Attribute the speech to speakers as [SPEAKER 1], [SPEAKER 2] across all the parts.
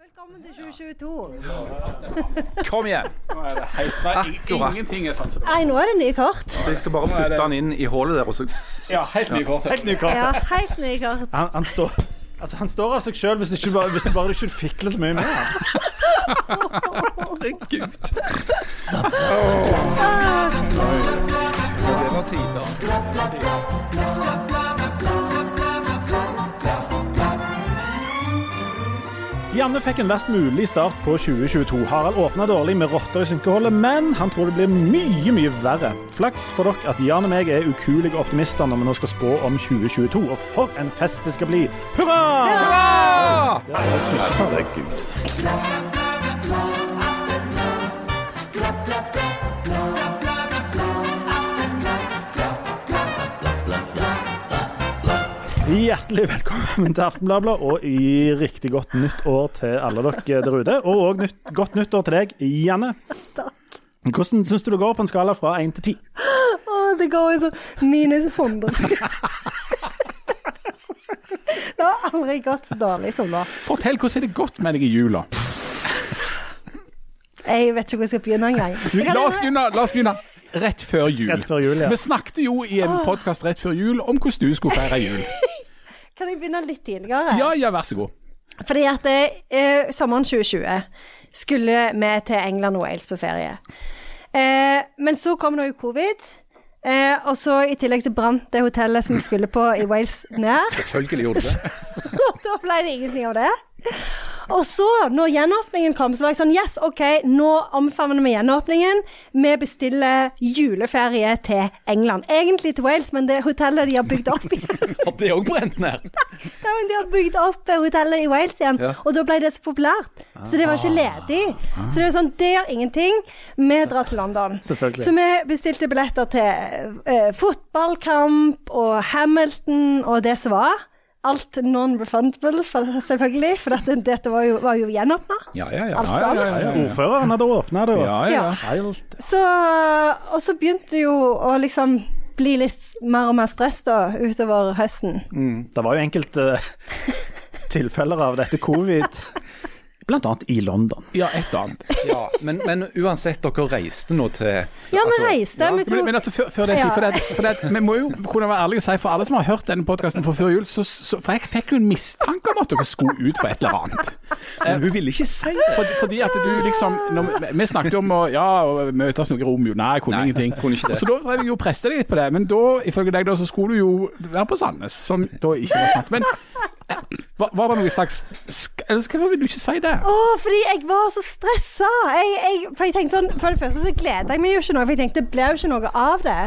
[SPEAKER 1] Velkommen til 2022.
[SPEAKER 2] Kom igjen!
[SPEAKER 3] Nå er det helt, nei,
[SPEAKER 2] Akkurat.
[SPEAKER 3] Ingenting er sånn som det var.
[SPEAKER 1] Nei, nå er det nye kort.
[SPEAKER 2] Så jeg skal bare
[SPEAKER 3] Nå er
[SPEAKER 2] putte
[SPEAKER 3] det-
[SPEAKER 2] den inn i hullet der, og så
[SPEAKER 3] Ja, helt nye kort.
[SPEAKER 4] Helt ny kart.
[SPEAKER 1] Ja, helt nye kort.
[SPEAKER 4] Han, han, står, altså, han står av seg sjøl hvis, det ikke bare- hvis det bare ikke fikler så mye med han.
[SPEAKER 2] Herregud.
[SPEAKER 1] Ah,
[SPEAKER 2] Det var tider.
[SPEAKER 4] Janne fikk en verst mulig start på 2022. Harald åpna dårlig med rotter i synkeholdet, men han tror det blir mye, mye verre. Flaks for dere at Jan og meg er ukulige optimister når vi nå skal spå om 2022. Og for en fest det skal bli! Hurra! Hjertelig velkommen til Aftenbladet, og i riktig godt nytt år til alle dere der ute. Og òg nytt, godt nyttår til deg, Janne.
[SPEAKER 1] takk.
[SPEAKER 4] Hvordan syns du det går på en skala fra én til ti?
[SPEAKER 1] Å, det går jo sånn minus 100 Det har aldri gått så dårlig som nå.
[SPEAKER 3] Fortell hvordan er det godt med deg i jula.
[SPEAKER 1] Jeg vet ikke hvor jeg skal begynne engang. Jeg kan-
[SPEAKER 3] La oss begynne, la oss begynne. rett før jul.
[SPEAKER 4] Rett før jul, ja. Ah.
[SPEAKER 3] Vi snakket jo i en podkast rett før jul om hvordan du skulle feire jul.
[SPEAKER 1] Kan jeg begynne litt tidligere?
[SPEAKER 3] Ja, ja, vær så god.
[SPEAKER 1] Fordi at eh, sommeren 2020 skulle vi til England og Wales på ferie. Eh, men så kom det jo covid, eh, og så i tillegg så brant det hotellet som vi skulle på i Wales ned.
[SPEAKER 2] Selvfølgelig gjorde det det.
[SPEAKER 1] Og da ble det ingenting av det. Og så, når gjenåpningen kom, så var jeg sånn Yes, OK, nå omfavner vi gjenåpningen. Vi bestiller juleferie til England. Egentlig til Wales, men det hotellet de har bygd opp igjen.
[SPEAKER 2] Har det òg brent ned?
[SPEAKER 1] Ja, men de har bygd opp eh, hotellet i Wales igjen, og da ble det så populært. Så det var ikke ledig. Så det var sånn Det gjør ingenting. Vi drar til London.
[SPEAKER 4] Selvfølgelig.
[SPEAKER 1] Så vi bestilte billetter til eh, fotballkamp og Hamilton og det som var. Alt non-refundable, for, selvfølgelig, for dette, dette var jo, var jo gjenåpna.
[SPEAKER 3] Ja, ja, ja.
[SPEAKER 1] Alt
[SPEAKER 4] Altså?
[SPEAKER 1] sammen.
[SPEAKER 3] Ja, ja, ja,
[SPEAKER 4] Ordføreren hadde åpna det. og-
[SPEAKER 3] ja. ja, ja.
[SPEAKER 4] Helt.
[SPEAKER 1] Så, og så begynte det jo å liksom bli litt mer og mer stress da, utover høsten.
[SPEAKER 4] Det var jo enkelte tilfeller av dette covid, blant annet i London.
[SPEAKER 3] ja et og annet.
[SPEAKER 2] Ja, men, men uansett, dere reiste nå til
[SPEAKER 1] Ja, vi reiste. Vi
[SPEAKER 3] Men,
[SPEAKER 1] tok
[SPEAKER 3] men altså, før, før den tid,
[SPEAKER 1] Ja.
[SPEAKER 3] for, det, for det, vi må jo kunne være ærlige og si for alle som har hørt denne podkasten fra før jul, så, så, for jeg fikk jo en mistanke om at dere skulle ut på et eller annet.
[SPEAKER 2] Men hun ville ikke si det.
[SPEAKER 3] Fordi, fordi at du liksom når, vi- Vi snakket jo om å ja, å møtes noe i Romeo. Nei, jeg kunne
[SPEAKER 2] Nei,
[SPEAKER 3] ingenting.
[SPEAKER 2] kunne ikke det.
[SPEAKER 3] Så da drev jeg jo og presset deg litt på det. Men da, ifølge deg, da, så skulle du jo være på Sandnes, som da ikke var sant. Men eh, var, var det noe slags sk- eller Hvorfor vil du ikke si det?
[SPEAKER 1] Å, fordi jeg var så stressa. Jeg, jeg, for jeg tenkte sånn, for det første så gleda jeg meg jo ikke noe, for jeg tenkte det ble jo ikke noe av det.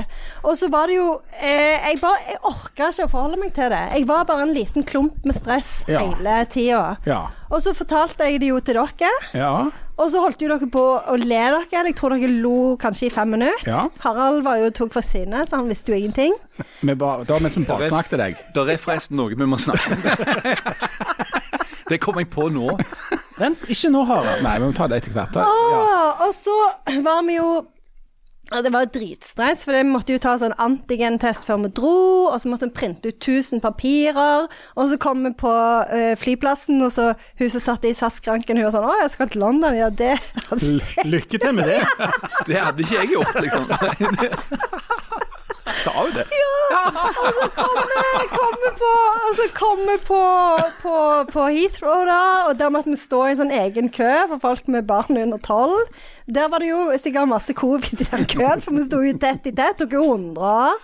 [SPEAKER 1] Og så var det jo eh, Jeg bare, jeg orka ikke å forholde meg til det. Jeg var bare en liten klump med stress
[SPEAKER 3] Ja.
[SPEAKER 1] hele tida.
[SPEAKER 3] Ja.
[SPEAKER 1] Og så fortalte jeg det jo til dere,
[SPEAKER 3] Ja.
[SPEAKER 1] og så holdt jo dere på å le dere. eller Jeg tror dere lo kanskje i fem minutter.
[SPEAKER 3] Ja.
[SPEAKER 1] Harald var jo tok for sinnet, så han visste jo ingenting.
[SPEAKER 3] Vi ba, da mens vi baksnakket deg.
[SPEAKER 2] Det er forresten noe vi må snakke om. Det kom jeg på nå.
[SPEAKER 4] Vent, ikke nå, Harald.
[SPEAKER 3] Nei, vi må ta det etter hvert.
[SPEAKER 1] Å, Ah, og så var vi jo ja, Det var jo dritstress, for vi måtte jo ta sånn antigen-test før vi dro, og så måtte vi printe ut 1000 papirer, og så kom vi på eh, flyplassen, og så hun som satt i SAS-skranken, hun var sånn 'Å, jeg skal til London', ja, det altså
[SPEAKER 4] L lykke til med det.
[SPEAKER 2] Det hadde ikke jeg gjort, liksom. Sa hun det?
[SPEAKER 1] altså, Jeg kommer på, og så kommer på, på, på Heathrow, da, og der måtte vi stå i en sånn egen kø for folk med barn under tolv. Der var det jo sikkert masse covid i den køen, for vi sto jo tett i tett, tok jo hundrer.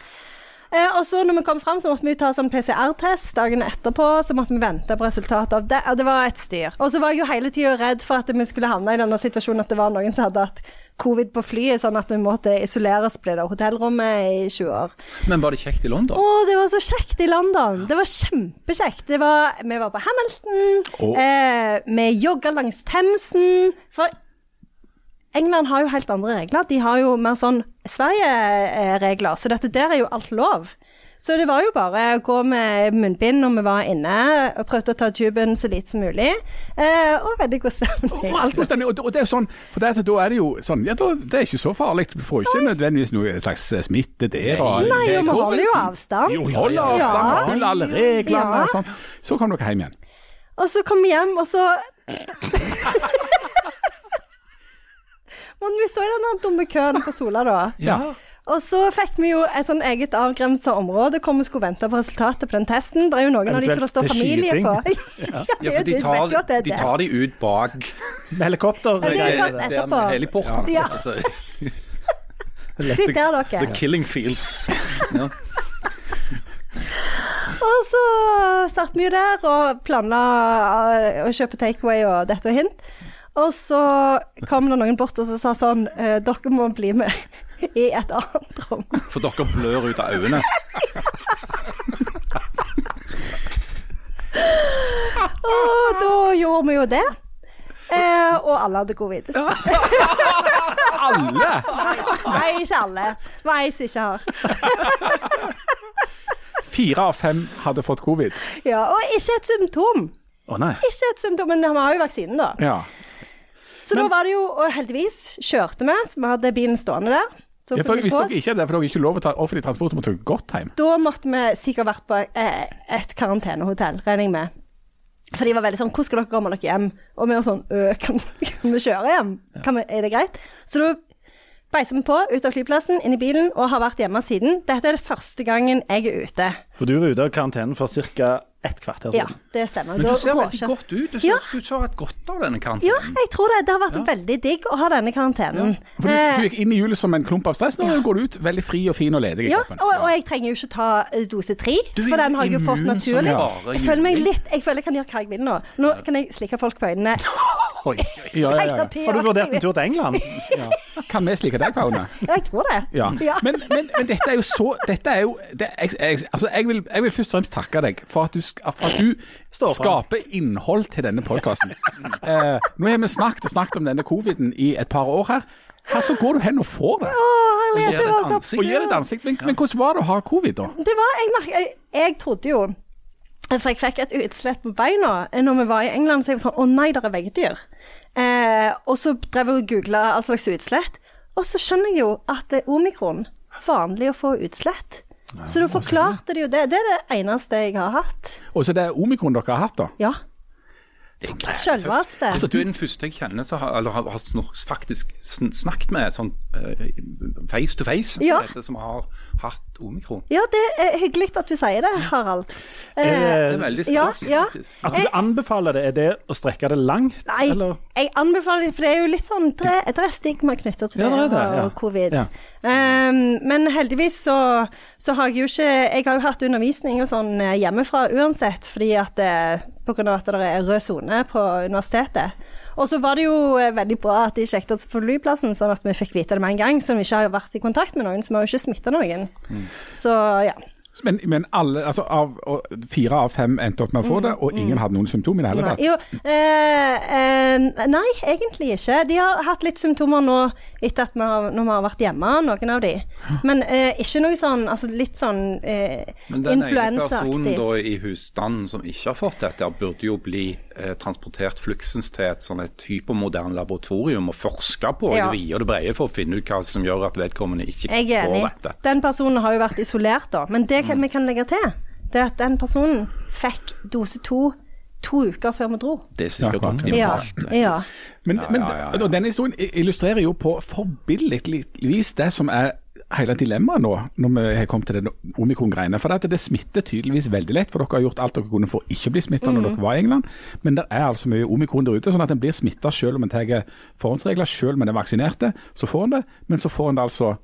[SPEAKER 1] Eh, og så når vi kom fram, så måtte vi jo ta sånn PCR-test dagen etterpå. Så måtte vi vente på resultatet av det. Og det var et styr. Og så var jeg jo hele tida redd for at vi skulle havne i denne situasjonen at det var noen som hadde hatt covid på flyet, sånn at vi måtte isoleres på det der hotellrommet i 20 år.
[SPEAKER 2] Men var det kjekt i London?
[SPEAKER 1] Å, det var så kjekt i London. Det var kjempekjekt. Det var, vi var på Hamilton.
[SPEAKER 3] Å.
[SPEAKER 1] Eh, vi jogga langs Themsen. For England har jo helt andre regler. De har jo mer sånn Sverige-regler. Så dette der er jo alt lov. Så det var jo bare å gå med munnbind når vi var inne, og prøvde å ta tuben så lite som mulig. Eh, og veldig god stemning.
[SPEAKER 3] Og alt går stemning. Og, og det er jo sånn, for det at, da er det jo sånn Ja, da, det er ikke så farlig. Du får ikke nødvendigvis noe slags eh, smitte der. Og,
[SPEAKER 1] Nei,
[SPEAKER 3] det
[SPEAKER 1] og vi
[SPEAKER 3] går vel
[SPEAKER 1] holder jo
[SPEAKER 3] fint.
[SPEAKER 1] avstand.
[SPEAKER 3] Jo, holder avstand,
[SPEAKER 1] Ja.
[SPEAKER 3] og følger alle reglene
[SPEAKER 1] Ja.
[SPEAKER 3] og sånn. Så kom dere hjem igjen.
[SPEAKER 1] Og så kom vi hjem, og så stå i den der dumme køen på Sola, da.
[SPEAKER 3] Ja.
[SPEAKER 1] Og så fikk vi jo et sånn eget avgrensa område hvor vi skulle vente på resultatet på den testen. Det er jo noen av de som det står
[SPEAKER 4] Eventuelt
[SPEAKER 1] familie
[SPEAKER 4] til
[SPEAKER 1] på.
[SPEAKER 2] Ja, for de
[SPEAKER 1] det- vet jo at det
[SPEAKER 2] tar,
[SPEAKER 1] er
[SPEAKER 2] de
[SPEAKER 1] det.
[SPEAKER 2] tar de ut bak
[SPEAKER 4] Med helikopter.
[SPEAKER 1] Ja, det er jo
[SPEAKER 4] greier
[SPEAKER 1] først
[SPEAKER 4] det.
[SPEAKER 1] etterpå.
[SPEAKER 2] med heliporten.
[SPEAKER 1] Ja.
[SPEAKER 2] Altså,
[SPEAKER 1] Sitt der, dere.
[SPEAKER 2] the killing fields. Ja.
[SPEAKER 1] Og så satt vi jo der og planla eh, å kjøpe takeaway og dette og hint. Og så kom det noen bort og så sa sånn eh, Dere må bli med i et annet rom.
[SPEAKER 2] For dere blør ut av øynene.
[SPEAKER 1] Og da gjorde vi jo det. Eh, og alle hadde covid.
[SPEAKER 3] Alle!
[SPEAKER 1] Nei, ikke alle. Det var ei som ikke har.
[SPEAKER 3] Fire av fem hadde fått covid.
[SPEAKER 1] Ja, og ikke et symptom.
[SPEAKER 4] Å nei.
[SPEAKER 1] Ikke et symptom, men vi har jo vaksinen, da.
[SPEAKER 3] Ja.
[SPEAKER 1] Så da var det jo, og heldigvis kjørte vi, så vi hadde bilen stående der. Så
[SPEAKER 3] Ja, for,
[SPEAKER 1] kom vi
[SPEAKER 3] hvis
[SPEAKER 1] på.
[SPEAKER 3] dere ikke er der, for dere er ikke lov å ta offentlig transport, måtte dere gått hjem.
[SPEAKER 1] Da måtte vi sikkert vært på eh, et karantenehotell, regner jeg med. For de var veldig sånn 'Hvordan skal dere komme dere hjem?' Og vi var sånn «Øh, kan, 'Kan vi kjøre hjem? Kan vi, er det greit?' Så da beiser vi på, ut av flyplassen, inn i bilen, og har vært hjemme siden. Dette er det første gangen jeg er ute.
[SPEAKER 4] For du var ute av karantenen for ca. et kvarter
[SPEAKER 1] Ja,
[SPEAKER 4] siden.
[SPEAKER 1] det stemmer.
[SPEAKER 2] Men
[SPEAKER 1] Da
[SPEAKER 2] du ser
[SPEAKER 1] råker-
[SPEAKER 2] veldig godt ut. Du
[SPEAKER 1] Ja.
[SPEAKER 2] ser, du ser et godt av denne kanten.
[SPEAKER 1] Ja, jeg tror det. Det har vært veldig digg å ha denne karantenen.
[SPEAKER 3] For du,
[SPEAKER 1] Eh,
[SPEAKER 3] du gikk inn i hjulet som en klump av stress, nå går du ut veldig fri og fin og ledig i
[SPEAKER 1] Eh, Ja,
[SPEAKER 3] kroppen.
[SPEAKER 1] og, og jeg trenger jo ikke ta eh, dose tre,
[SPEAKER 2] Du er
[SPEAKER 1] for den
[SPEAKER 2] jo
[SPEAKER 1] har jeg jo fått
[SPEAKER 2] immun som
[SPEAKER 1] naturlig.
[SPEAKER 2] bare
[SPEAKER 1] Jeg føler meg
[SPEAKER 2] juling.
[SPEAKER 1] litt Jeg føler jeg kan gjøre hva jeg vil nå. Nå kan jeg slikke folk på øynene
[SPEAKER 2] Oi, oi.
[SPEAKER 3] Ja, ja, ja,
[SPEAKER 1] hele tida.
[SPEAKER 4] Har du vurdert en tur til England?
[SPEAKER 3] ja. Kan vi slike deg, Kaune?
[SPEAKER 1] Ja, jeg tror det.
[SPEAKER 3] Ja.
[SPEAKER 1] Ja.
[SPEAKER 3] Men, men, men dette er jo så Dette er jo det, jeg, jeg, altså jeg, vil, jeg vil først og fremst takke deg for at du, sk- for at du
[SPEAKER 4] Står fram.
[SPEAKER 3] skaper innhold til denne podkasten. nå har vi snakket og snakket om denne coviden i et par år her. Her så går du hen og får det.
[SPEAKER 1] Å, herlighet,
[SPEAKER 2] gir
[SPEAKER 1] det
[SPEAKER 2] det
[SPEAKER 1] var
[SPEAKER 2] et
[SPEAKER 1] så
[SPEAKER 2] ansikt.
[SPEAKER 3] Og gir det et
[SPEAKER 1] absurd.
[SPEAKER 3] ansikt. Men, men hvordan var det å ha covid, da?
[SPEAKER 1] Det var Jeg, merk- jeg, jeg trodde jo For jeg fikk et utslett på beina eh, når vi var i England, så jeg var sånn Å nei, der er veggdyr. Eh, og så drev jeg og googla all slags utslett, og så skjønner jeg jo at det er omikron. Vanlig å få utslett. Så da forklarte de jo det. Det er det eneste jeg har hatt.
[SPEAKER 3] Og så det er omikron dere har hatt, da.
[SPEAKER 1] Ja.
[SPEAKER 2] Det er greit.
[SPEAKER 1] Selveste.
[SPEAKER 2] Altså, du er den første jeg kjenner som har, eller har, har snor- faktisk sn snakket med sånn eh, face to face, som
[SPEAKER 1] Ja.
[SPEAKER 2] det heter, som har hatt omikron.
[SPEAKER 1] Ja, det er hyggelig at du sier det, Harald. Eh,
[SPEAKER 2] Det er veldig
[SPEAKER 1] ja,
[SPEAKER 2] stas,
[SPEAKER 1] ja.
[SPEAKER 2] faktisk.
[SPEAKER 4] At du anbefaler det, er det å strekke det langt?
[SPEAKER 1] Eh. nei,
[SPEAKER 4] Eller?
[SPEAKER 1] jeg anbefaler det, for det er jo litt sånn Det det er stigma knytta til
[SPEAKER 4] Ja,
[SPEAKER 1] det,
[SPEAKER 4] det er det, ja.
[SPEAKER 1] og covid.
[SPEAKER 4] Ja.
[SPEAKER 1] Um, men heldigvis så, så har jeg jo ikke Jeg har jo hatt undervisning og sånn eh, hjemmefra uansett, fordi at eh, på grunn av at det er rød sone på universitetet. Og så var det jo eh, veldig bra at de sjekket oss på flyplassen, sånn at vi fikk vite det med en gang. Så vi ikke har vært i kontakt med noen, så vi har jo ikke smitta noen.
[SPEAKER 4] Mm.
[SPEAKER 1] Så ja.
[SPEAKER 3] Men, men alle, altså av, og fire av fem endte opp med å få det, og ingen hadde noen symptomer i det hele
[SPEAKER 1] Nei.
[SPEAKER 3] tatt.
[SPEAKER 1] Jo, eh, eh, nei, egentlig ikke. De har hatt litt symptomer nå etter at vi har, når vi har vært hjemme, noen av de. Men eh, ikke noe sånn altså litt sånn eh,
[SPEAKER 2] Men den ene
[SPEAKER 1] influensaaktig.
[SPEAKER 2] personen da i husstanden som ikke har fått dette, burde jo bli eh, transportert fluksens til et sånn et hypermoderne laboratorium og forske på
[SPEAKER 1] Ja.
[SPEAKER 2] i det vide og det brede for å finne ut hva som gjør at vedkommende ikke
[SPEAKER 1] Jeg er
[SPEAKER 2] får Mm.
[SPEAKER 1] enig.
[SPEAKER 2] dette.
[SPEAKER 1] Den personen har jo vært isolert, da. Men det kan, vi kan legge til, det er at den personen fikk dose to to uker før vi dro.
[SPEAKER 2] Det er sikkert
[SPEAKER 3] Ja,
[SPEAKER 1] Ja.
[SPEAKER 2] optimalt.
[SPEAKER 1] ja.
[SPEAKER 3] Men,
[SPEAKER 2] Ja,
[SPEAKER 3] men
[SPEAKER 2] ja, ja, ja.
[SPEAKER 3] Og denne historien i- illustrerer jo på forbilledlig vis det som er hele dilemmaet nå, når vi har kommet til den omikron-greiene. For det, at det smitter tydeligvis veldig lett, for dere har gjort alt dere kunne for å ikke bli smitta når dere var i England. Men det er altså mye omikron der ute, sånn at en blir smitta selv om en tar forhåndsregler. Selv om en er vaksinerte, så får en det. Men så får en det altså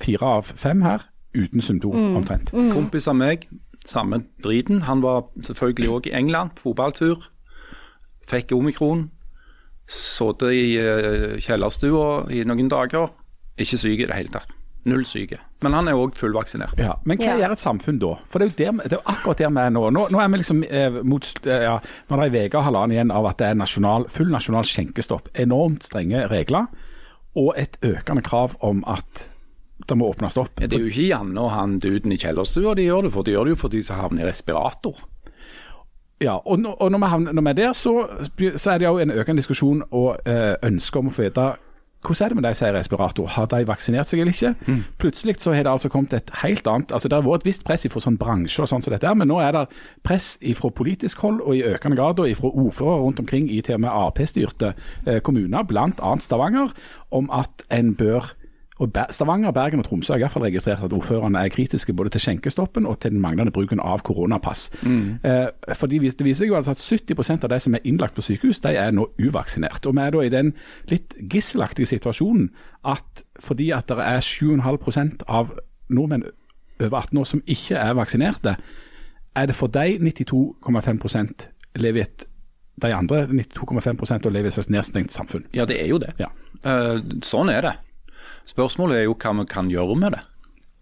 [SPEAKER 3] fire av fem her uten symptom, omtrent.
[SPEAKER 2] Kompis av meg, samme driten. Han var selvfølgelig òg i England på fotballtur. Fikk omikron. Sittet i eh, kjellerstua i noen dager. Ikke syk i det hele tatt. Null syke. Men han er òg fullvaksinert.
[SPEAKER 3] Ja, Men hva
[SPEAKER 1] Ja.
[SPEAKER 3] gjør et samfunn da? For det er jo, der, det er jo akkurat der vi er nå. Nå, nå er vi liksom eh, mot eh, ja, Nå er det ei uke og halvannen igjen av at det er nasjonal, full nasjonal skjenkestopp. Enormt strenge regler, og et økende krav om at det må åpnes opp.
[SPEAKER 2] Det er jo ikke Janne og han duden i kjellerstua de gjør det for. De gjør det jo for de som havner i respirator.
[SPEAKER 3] Ja, og, nå- og når, vi havner, når vi er der, så, så er det jo en økende diskusjon og eh, ønske om å få vite Hvordan er det med de som er respirator, har de vaksinert seg eller ikke? Plutselig så har det altså kommet et helt annet altså Det har vært et visst press fra sånn bransje og sånn som dette, her, men nå er det press fra politisk hold og i økende grad og fra ordførere rundt omkring i til og med Ap-styrte eh, kommuner, bl.a. Stavanger, om at en bør og Ber- Stavanger, Bergen og Tromsø har i hvert fall registrert at ordførerne er kritiske både til skjenkestoppen og til den manglende bruken av koronapass. Eh, for de vis- Det viser seg jo altså at 70 av de som er innlagt på sykehus, de er nå uvaksinert. Og Vi er da i den litt gisselaktige situasjonen at fordi at det er 7,5 av nordmenn over 18 år som ikke er vaksinerte, er det for de 92,5 lever i et de andre 92,5 og lever i et slags nedstengt samfunn.
[SPEAKER 2] Ja, det er jo det.
[SPEAKER 3] Ja.
[SPEAKER 2] Eh, sånn er det. Spørsmålet er jo hva vi kan gjøre med det,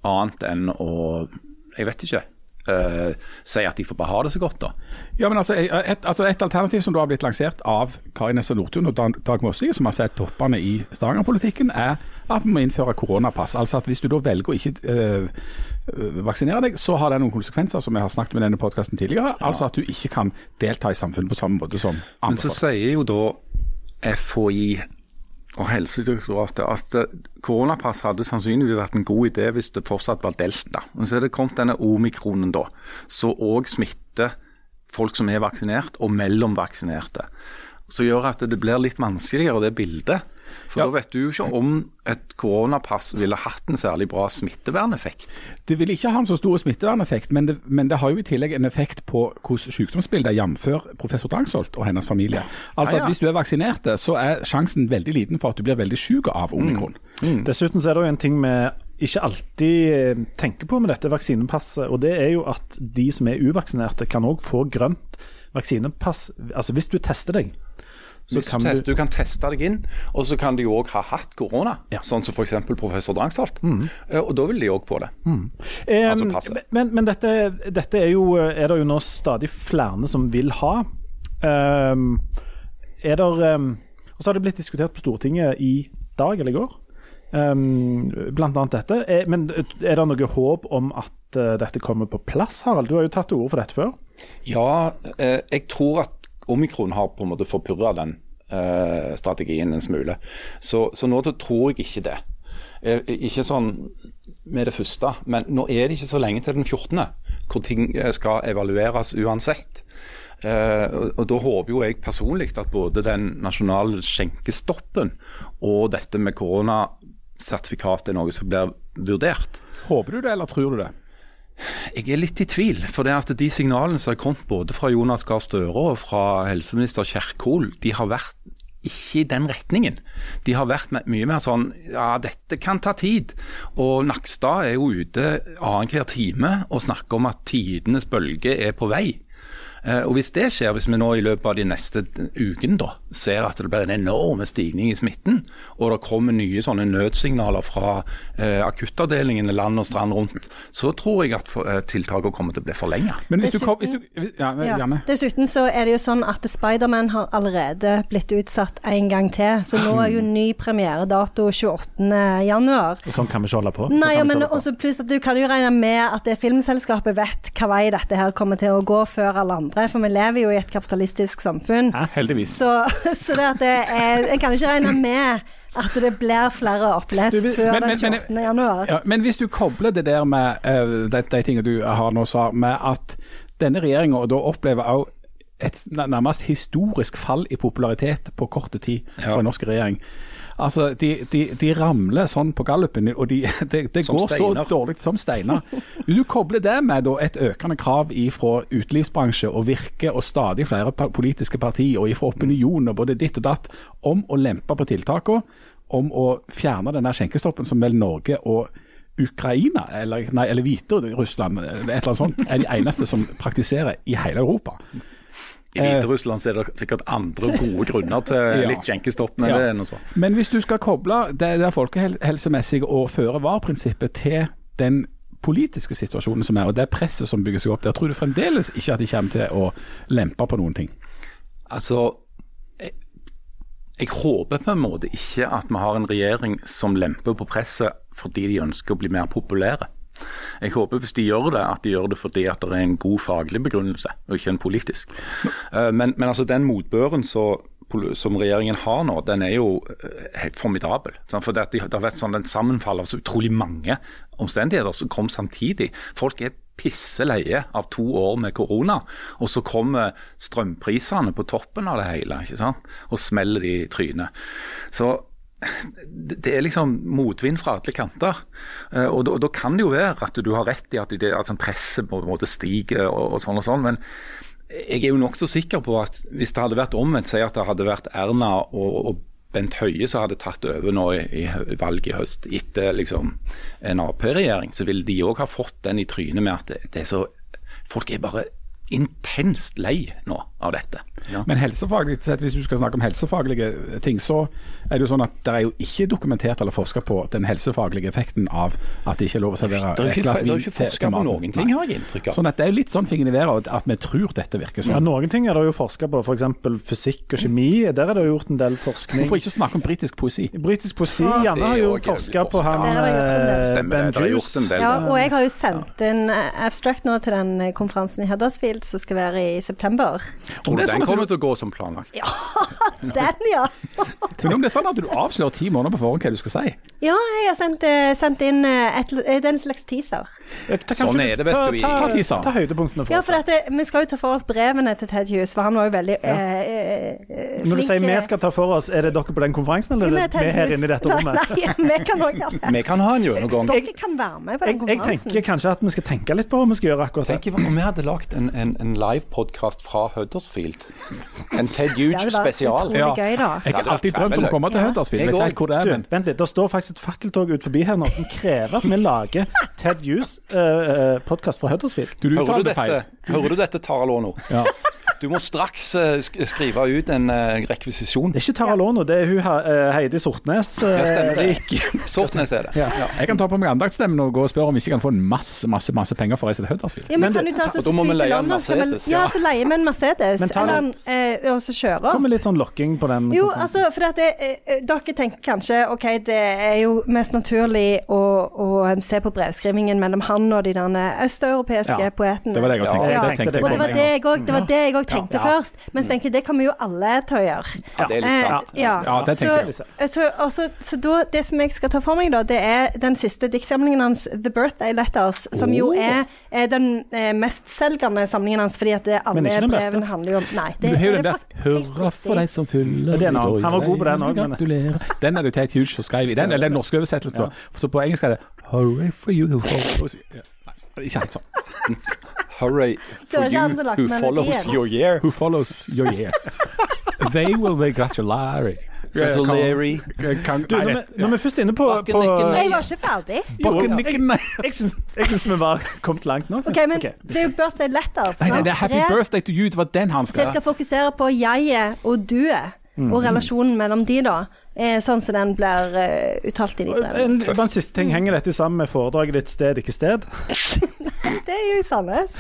[SPEAKER 2] annet enn å Jeg vet ikke. eh, si at de får bare ha det så godt, da.
[SPEAKER 3] Ja, men altså et, altså et alternativ som da har blitt lansert av Kari Nessa Nordtun og Dan- Dag Mossi, som altså er toppene i Stavanger-politikken, er at vi må innføre koronapass. Altså at hvis du da velger å ikke øh, øh, vaksinere deg, så har det noen konsekvenser, som vi har snakket med denne podkasten tidligere. Altså at du ikke kan delta i samfunnet på samme måte som
[SPEAKER 2] Men så
[SPEAKER 3] andre folk.
[SPEAKER 2] sier jo da FHI og Helsedirektoratet at eh, koronapass hadde sannsynligvis vært en god idé hvis det fortsatt var delta. Men så er det kommet denne omikronen, da, som òg smitter folk som er vaksinert, og mellomvaksinerte. Som gjør at det blir litt vanskeligere, det bildet. For
[SPEAKER 3] Ja.
[SPEAKER 2] da vet du jo ikke om et koronapass ville hatt en særlig bra smitteverneffekt.
[SPEAKER 3] Det vil ikke ha en så stor smitteverneffekt, men det, men det har jo i tillegg en effekt på hvordan sykdomsbildet er, jf. professor Drangsholt og hennes familie. Altså
[SPEAKER 2] Ja, ja.
[SPEAKER 3] at Hvis du er vaksinert, så er sjansen veldig liten for at du blir veldig syk av
[SPEAKER 2] Mm.
[SPEAKER 3] omikron.
[SPEAKER 4] Dessuten så er det jo en ting vi ikke alltid eh, tenker på med dette vaksinepasset, og det er jo at de som er uvaksinerte kan òg få grønt vaksinepass, altså hvis du tester deg. Så
[SPEAKER 2] Hvis
[SPEAKER 4] kan
[SPEAKER 2] du,
[SPEAKER 4] du,
[SPEAKER 2] test, du kan teste deg inn, og så kan de òg ha hatt korona. Sånn som f.eks. professor Drangsholt.
[SPEAKER 4] Mm.
[SPEAKER 2] Eh, Og da vil de òg få det.
[SPEAKER 4] Eh,
[SPEAKER 2] altså passet.
[SPEAKER 4] men men dette, dette er, jo, er det jo nå stadig flere som vil ha. Ehm, er der, ehm, og så har det blitt diskutert på Stortinget i dag eller i går, ehm, blant annet dette. Er, men er det noe håp om at eh, dette kommer på plass, Harald? Du har jo tatt til orde for dette før.
[SPEAKER 2] Ja, eh, jeg tror at omikron har på en måte forpurra den eh, strategien en smule. Så, så nå tror jeg ikke det. Eh, ikke sånn med det første, men nå er det ikke så lenge til den 14., hvor ting eh, skal evalueres uansett. Eh, og, og Da håper jo jeg personlig at både den nasjonale skjenkestoppen og dette med koronasertifikat er noe som blir vurdert.
[SPEAKER 3] Håper du det, eller tror du det?
[SPEAKER 2] Jeg er litt i tvil. For det er at de signalene som har kommet både fra Jonas Gahr Støre og fra helseminister Kjerkol, de har vært ikke i den retningen. De har vært me- mye mer sånn ja, dette kan ta tid. Og Nakstad er jo ute annenhver time og snakker om at tidenes bølge er på vei. Eh, Og Hvis det skjer, hvis vi nå i løpet av de neste ukene da, ser at det blir en enorm stigning i smitten, og det kommer nye sånne nødsignaler fra eh, akuttavdelingene land og strand rundt, så tror jeg at for- eh, tiltakene kommer til å bli forlenga.
[SPEAKER 3] Men hvis du, kom, hvis du
[SPEAKER 1] Dessuten-
[SPEAKER 3] hvis, ja,
[SPEAKER 1] Ja.
[SPEAKER 3] Janne.
[SPEAKER 1] Dessuten så er det jo sånn at Spiderman har allerede blitt utsatt en gang til, så nå er jo ny premieredato 28. januar.
[SPEAKER 4] Og sånn kan vi ikke holde på. Sånn
[SPEAKER 1] Nei,
[SPEAKER 4] kan vi
[SPEAKER 1] men
[SPEAKER 4] ikke holde på.
[SPEAKER 1] også pluss at du kan jo regne med at det filmselskapet vet hva vei dette her kommer til å gå før alle andre, for vi lever jo i et kapitalistisk samfunn.
[SPEAKER 3] Hæ? Heldigvis.
[SPEAKER 1] Så, så det at det er, jeg kan ikke regne med at det blir flere opplegg
[SPEAKER 3] Du, vi-
[SPEAKER 1] før
[SPEAKER 3] men-
[SPEAKER 1] den
[SPEAKER 3] men- men-
[SPEAKER 1] 28. januar.
[SPEAKER 3] Ja, men hvis du kobler det der med eh, de, de tingene du har nå sa, med at denne regjeringa da opplever også et n- nærmest historisk fall i popularitet på kort tid for en norsk regjering. Altså, de, de, de ramler sånn på gallupen, og de, det- det
[SPEAKER 2] Som
[SPEAKER 3] går
[SPEAKER 2] steiner.
[SPEAKER 3] så dårlig som steiner. Hvis du kobler det med da, et økende krav fra utelivsbransje og Virke og stadig flere pa- politiske partier og fra opinion og både ditt og datt om å lempe på tiltakene, om å fjerne denne skjenkestoppen som vel Norge og Ukraina, eller, nei, eller Hviterussland, eller et eller annet sånt, er de eneste som praktiserer i hele Europa.
[SPEAKER 2] I Hviterussland så er det sikkert andre gode grunner til
[SPEAKER 3] Eh. Ja.
[SPEAKER 2] litt skjenkestopp, men
[SPEAKER 3] Ja.
[SPEAKER 2] det er noe sånt.
[SPEAKER 3] Men hvis du skal koble det, det folkehelsemessige og føre-var-prinsippet til den politiske situasjonen som er, og det presset som bygger seg opp der, tror du fremdeles ikke at de kommer til å lempe på noen ting?
[SPEAKER 2] Altså, jeg, jeg håper på en måte ikke at vi har en regjering som lemper på presset fordi de ønsker å bli mer populære. Jeg håper hvis de gjør det, at de gjør det fordi at det er en god faglig begrunnelse, og ikke en politisk. Eh, Men, men altså den motbøren som pol- som regjeringen har nå, den er jo eh, helt formidabel. Sant? For det, at de- det har vært sånn en sammenfall av så utrolig mange omstendigheter som kom samtidig. Folk er pisseleie av to år med korona, og så kommer strømprisene på toppen av det hele ikke sant? og smeller de i trynet. Så det det er liksom motvind fra alle kanter. Eh, Og da, og da kan det jo være at du har rett i at, det, at sånn presset på en måte stiger og, og sånn og sånn, men jeg er jo nokså sikker på at hvis det hadde vært omvendt, si at det hadde vært Erna og, og Bent Høie som hadde tatt over nå i, i hø- valget i høst etter liksom en Ap-regjering, så ville de òg ha fått den i trynet med at det, det er så Folk er bare intenst lei nå av dette.
[SPEAKER 3] Men helsefaglig sett, hvis du skal snakke om helsefaglige eh, ting, så er det jo sånn at det er jo ikke dokumentert eller forska på den helsefaglige effekten av at det ikke er lov å servere
[SPEAKER 2] Det er jo ikke-
[SPEAKER 3] et glass
[SPEAKER 2] det er jo
[SPEAKER 3] vin
[SPEAKER 2] ikke
[SPEAKER 3] til-
[SPEAKER 2] forsket på
[SPEAKER 3] til maten.
[SPEAKER 2] noen ting,
[SPEAKER 3] Nei.
[SPEAKER 2] har jeg inntrykk av.
[SPEAKER 3] Sånn at det er jo litt sånn fingeren i været at vi tror dette virker
[SPEAKER 4] Ja,
[SPEAKER 3] sånn.
[SPEAKER 4] noen ting er det jo forska på, f.eks. fysikk og kjemi. Der er det jo gjort en del forskning.
[SPEAKER 3] Hvorfor ikke snakke om britisk poesi?
[SPEAKER 4] Britisk poesi
[SPEAKER 1] Ja,
[SPEAKER 4] gjerne har jo
[SPEAKER 2] det er jo
[SPEAKER 4] forska
[SPEAKER 2] jævlig
[SPEAKER 4] på han
[SPEAKER 1] forsket. Det er det gjort en del.
[SPEAKER 4] eh,
[SPEAKER 2] Stemmer
[SPEAKER 4] Ben
[SPEAKER 2] det, det er gjort en
[SPEAKER 4] Juice.
[SPEAKER 2] del.
[SPEAKER 1] Ja, og jeg har jo sendt inn eh, abstract nå til den eh, konferansen i Huddersfield som skal være i september.
[SPEAKER 2] Tror du
[SPEAKER 3] det er sånn
[SPEAKER 2] den
[SPEAKER 3] at du-
[SPEAKER 2] kommer til å gå som planlagt?
[SPEAKER 1] Den, ja!
[SPEAKER 3] Men om det er sånn at du avslører ti måneder på forhånd hva du skal si?
[SPEAKER 1] Ja, jeg har sendt, eh, sendt inn eh, et, eh, den slags teaser.
[SPEAKER 4] Ja, ta-
[SPEAKER 2] Sånn
[SPEAKER 4] kanskje-
[SPEAKER 2] er det, vet
[SPEAKER 4] ta-
[SPEAKER 2] du, i-
[SPEAKER 4] Ta,
[SPEAKER 3] Ta teaseren.
[SPEAKER 4] ta høydepunktene for
[SPEAKER 1] Ja,
[SPEAKER 4] oss.
[SPEAKER 1] for dette, vi skal jo ta for oss brevene til Ted Hughes, for han var jo veldig eh, eh, eh,
[SPEAKER 4] Når du
[SPEAKER 1] flink,
[SPEAKER 4] sier vi
[SPEAKER 1] eh,
[SPEAKER 4] skal ta for oss, er det dere på den konferansen, eller
[SPEAKER 1] med
[SPEAKER 4] er det
[SPEAKER 1] Ted
[SPEAKER 4] vi her
[SPEAKER 1] Hughes.
[SPEAKER 4] inne i dette rommet?
[SPEAKER 1] Nei, nei vi kan også gjøre det.
[SPEAKER 2] Vi kan ha en gjennomgang.
[SPEAKER 1] Dere kan være med på
[SPEAKER 4] Jeg,
[SPEAKER 1] den
[SPEAKER 4] jeg
[SPEAKER 1] konferansen.
[SPEAKER 4] tenker kanskje at vi skal tenke litt på hva vi skal gjøre akkurat
[SPEAKER 2] Tenk
[SPEAKER 4] her.
[SPEAKER 2] om vi hadde lagd en, en, en livepodkast fra Huddersfield. En Ted Huge
[SPEAKER 1] vært
[SPEAKER 2] spesial.
[SPEAKER 1] utrolig gøy, da.
[SPEAKER 3] Jeg har alltid drømt om å komme til Huddersfield,
[SPEAKER 2] Jeg
[SPEAKER 3] jeg vet
[SPEAKER 2] går.
[SPEAKER 3] ikke hvor det
[SPEAKER 4] Du,
[SPEAKER 3] er, men
[SPEAKER 4] vent litt, Det står faktisk et fakkeltog ut forbi her nå som krever at vi lager Ted Hughes' eh, eh, podcast fra Huddersfield.
[SPEAKER 3] du, du
[SPEAKER 2] Hører
[SPEAKER 3] tar
[SPEAKER 2] du
[SPEAKER 3] det feil.
[SPEAKER 2] dette, Hører du dette Taralo nå?
[SPEAKER 3] Ja.
[SPEAKER 2] Du må straks eh, sk- skrive ut en eh, rekvisisjon.
[SPEAKER 4] Det er ikke Tara Lono, det er hun her, eh, Heidi Sortnes. eh,
[SPEAKER 2] Ja, stemmer det.
[SPEAKER 4] Rik.
[SPEAKER 2] Sortnes er det.
[SPEAKER 4] Ja.
[SPEAKER 3] Jeg kan ta på meg andaktstemmen og gå og spørre om jeg ikke kan få en masse masse, masse penger for å reise til Huddersfield.
[SPEAKER 1] Ja, men,
[SPEAKER 4] Men
[SPEAKER 1] kan
[SPEAKER 4] det-
[SPEAKER 1] du ta så
[SPEAKER 2] og da må
[SPEAKER 1] fly
[SPEAKER 2] vi
[SPEAKER 1] til
[SPEAKER 2] leie en
[SPEAKER 1] London, så kan vi-
[SPEAKER 2] Mercedes,
[SPEAKER 1] Ja,
[SPEAKER 2] ja.
[SPEAKER 1] så leier vi en Mercedes,
[SPEAKER 4] Men ta
[SPEAKER 1] eller
[SPEAKER 4] den.
[SPEAKER 1] en, eh, og så kjører.
[SPEAKER 4] Kom med litt sånn lokking på den.
[SPEAKER 1] Jo,
[SPEAKER 4] konferansen.
[SPEAKER 1] altså, for at det, eh, eh, dere tenker kanskje ok, det er jo mest naturlig å, å eh, se på brevskrivingen mellom han og de derne østeuropeiske
[SPEAKER 3] Ja,
[SPEAKER 1] poetene.
[SPEAKER 3] det var det jeg
[SPEAKER 2] Ja.
[SPEAKER 3] hadde tenkt.
[SPEAKER 1] Ja.
[SPEAKER 3] Det tenkte jeg
[SPEAKER 1] og det
[SPEAKER 3] på
[SPEAKER 1] var
[SPEAKER 3] med
[SPEAKER 1] det
[SPEAKER 3] en gang. Mm.
[SPEAKER 1] jeg òg- det var det jeg òg tenkte
[SPEAKER 4] Ja.
[SPEAKER 1] først, men så tenkte jeg det kan vi jo alle til å gjøre.
[SPEAKER 2] Ja, det er litt sant.
[SPEAKER 1] Eh, ja.
[SPEAKER 3] sånn. Ja, det tenkte
[SPEAKER 1] så, eh, så, og så, så da, det som jeg skal ta for meg, da, det er den siste diktsamlingen hans, 'The Birthday Letters', som jo
[SPEAKER 3] Oh.
[SPEAKER 1] er, er den eh, mestselgende samlingen hans, fordi at det, alle
[SPEAKER 4] Men ikke den beste.
[SPEAKER 1] brevene handler jo om Nei, det
[SPEAKER 3] Du har jo den
[SPEAKER 1] det
[SPEAKER 3] der
[SPEAKER 1] fakt- helt
[SPEAKER 3] 'Hurra for
[SPEAKER 1] riktig.
[SPEAKER 3] deg som fyller
[SPEAKER 4] Ja, det er en annen. Han var god på den også, men-
[SPEAKER 3] Gratulerer. Den er det jo Tate Hughes som skrev i. Den, eller den norske oversettelsen, da. Så på engelsk er det 'Hurray for you'. who- Ja, Nei, ikke helt sånn.
[SPEAKER 2] Hurray
[SPEAKER 1] Det var
[SPEAKER 2] for
[SPEAKER 1] ikke han
[SPEAKER 2] you
[SPEAKER 1] som lagde
[SPEAKER 2] who
[SPEAKER 1] melodien.
[SPEAKER 2] follows your year.
[SPEAKER 3] Who follows your year. They will be gratulary.
[SPEAKER 2] Gratulery.
[SPEAKER 3] Kan-
[SPEAKER 4] du,
[SPEAKER 3] Nei,
[SPEAKER 4] når,
[SPEAKER 3] det-
[SPEAKER 4] vi, når vi først er inne på, på
[SPEAKER 2] Bakkenikken.
[SPEAKER 1] Jeg var ikke ferdig.
[SPEAKER 4] Jo, ja.
[SPEAKER 3] Bakkenikken.
[SPEAKER 4] Jeg syns jeg syns vi var kommet langt nok.
[SPEAKER 1] Ok, men
[SPEAKER 4] Ok.
[SPEAKER 1] det er jo birthday letters.
[SPEAKER 3] Nei, nei,
[SPEAKER 1] sant?
[SPEAKER 3] det er 'Happy
[SPEAKER 1] Brev.
[SPEAKER 3] birthday to you'. Det var den han
[SPEAKER 1] Så jeg
[SPEAKER 3] skrev.
[SPEAKER 1] skal fokusere på jeget og duet, og relasjonen mellom de da. eh, Sånn som den blir eh, uttalt i de brevene.
[SPEAKER 4] En, bare en siste ting.
[SPEAKER 2] Mm.
[SPEAKER 4] Henger dette sammen med foredraget ditt 'Sted, ikke sted'?
[SPEAKER 1] Det er jo i Sandnes.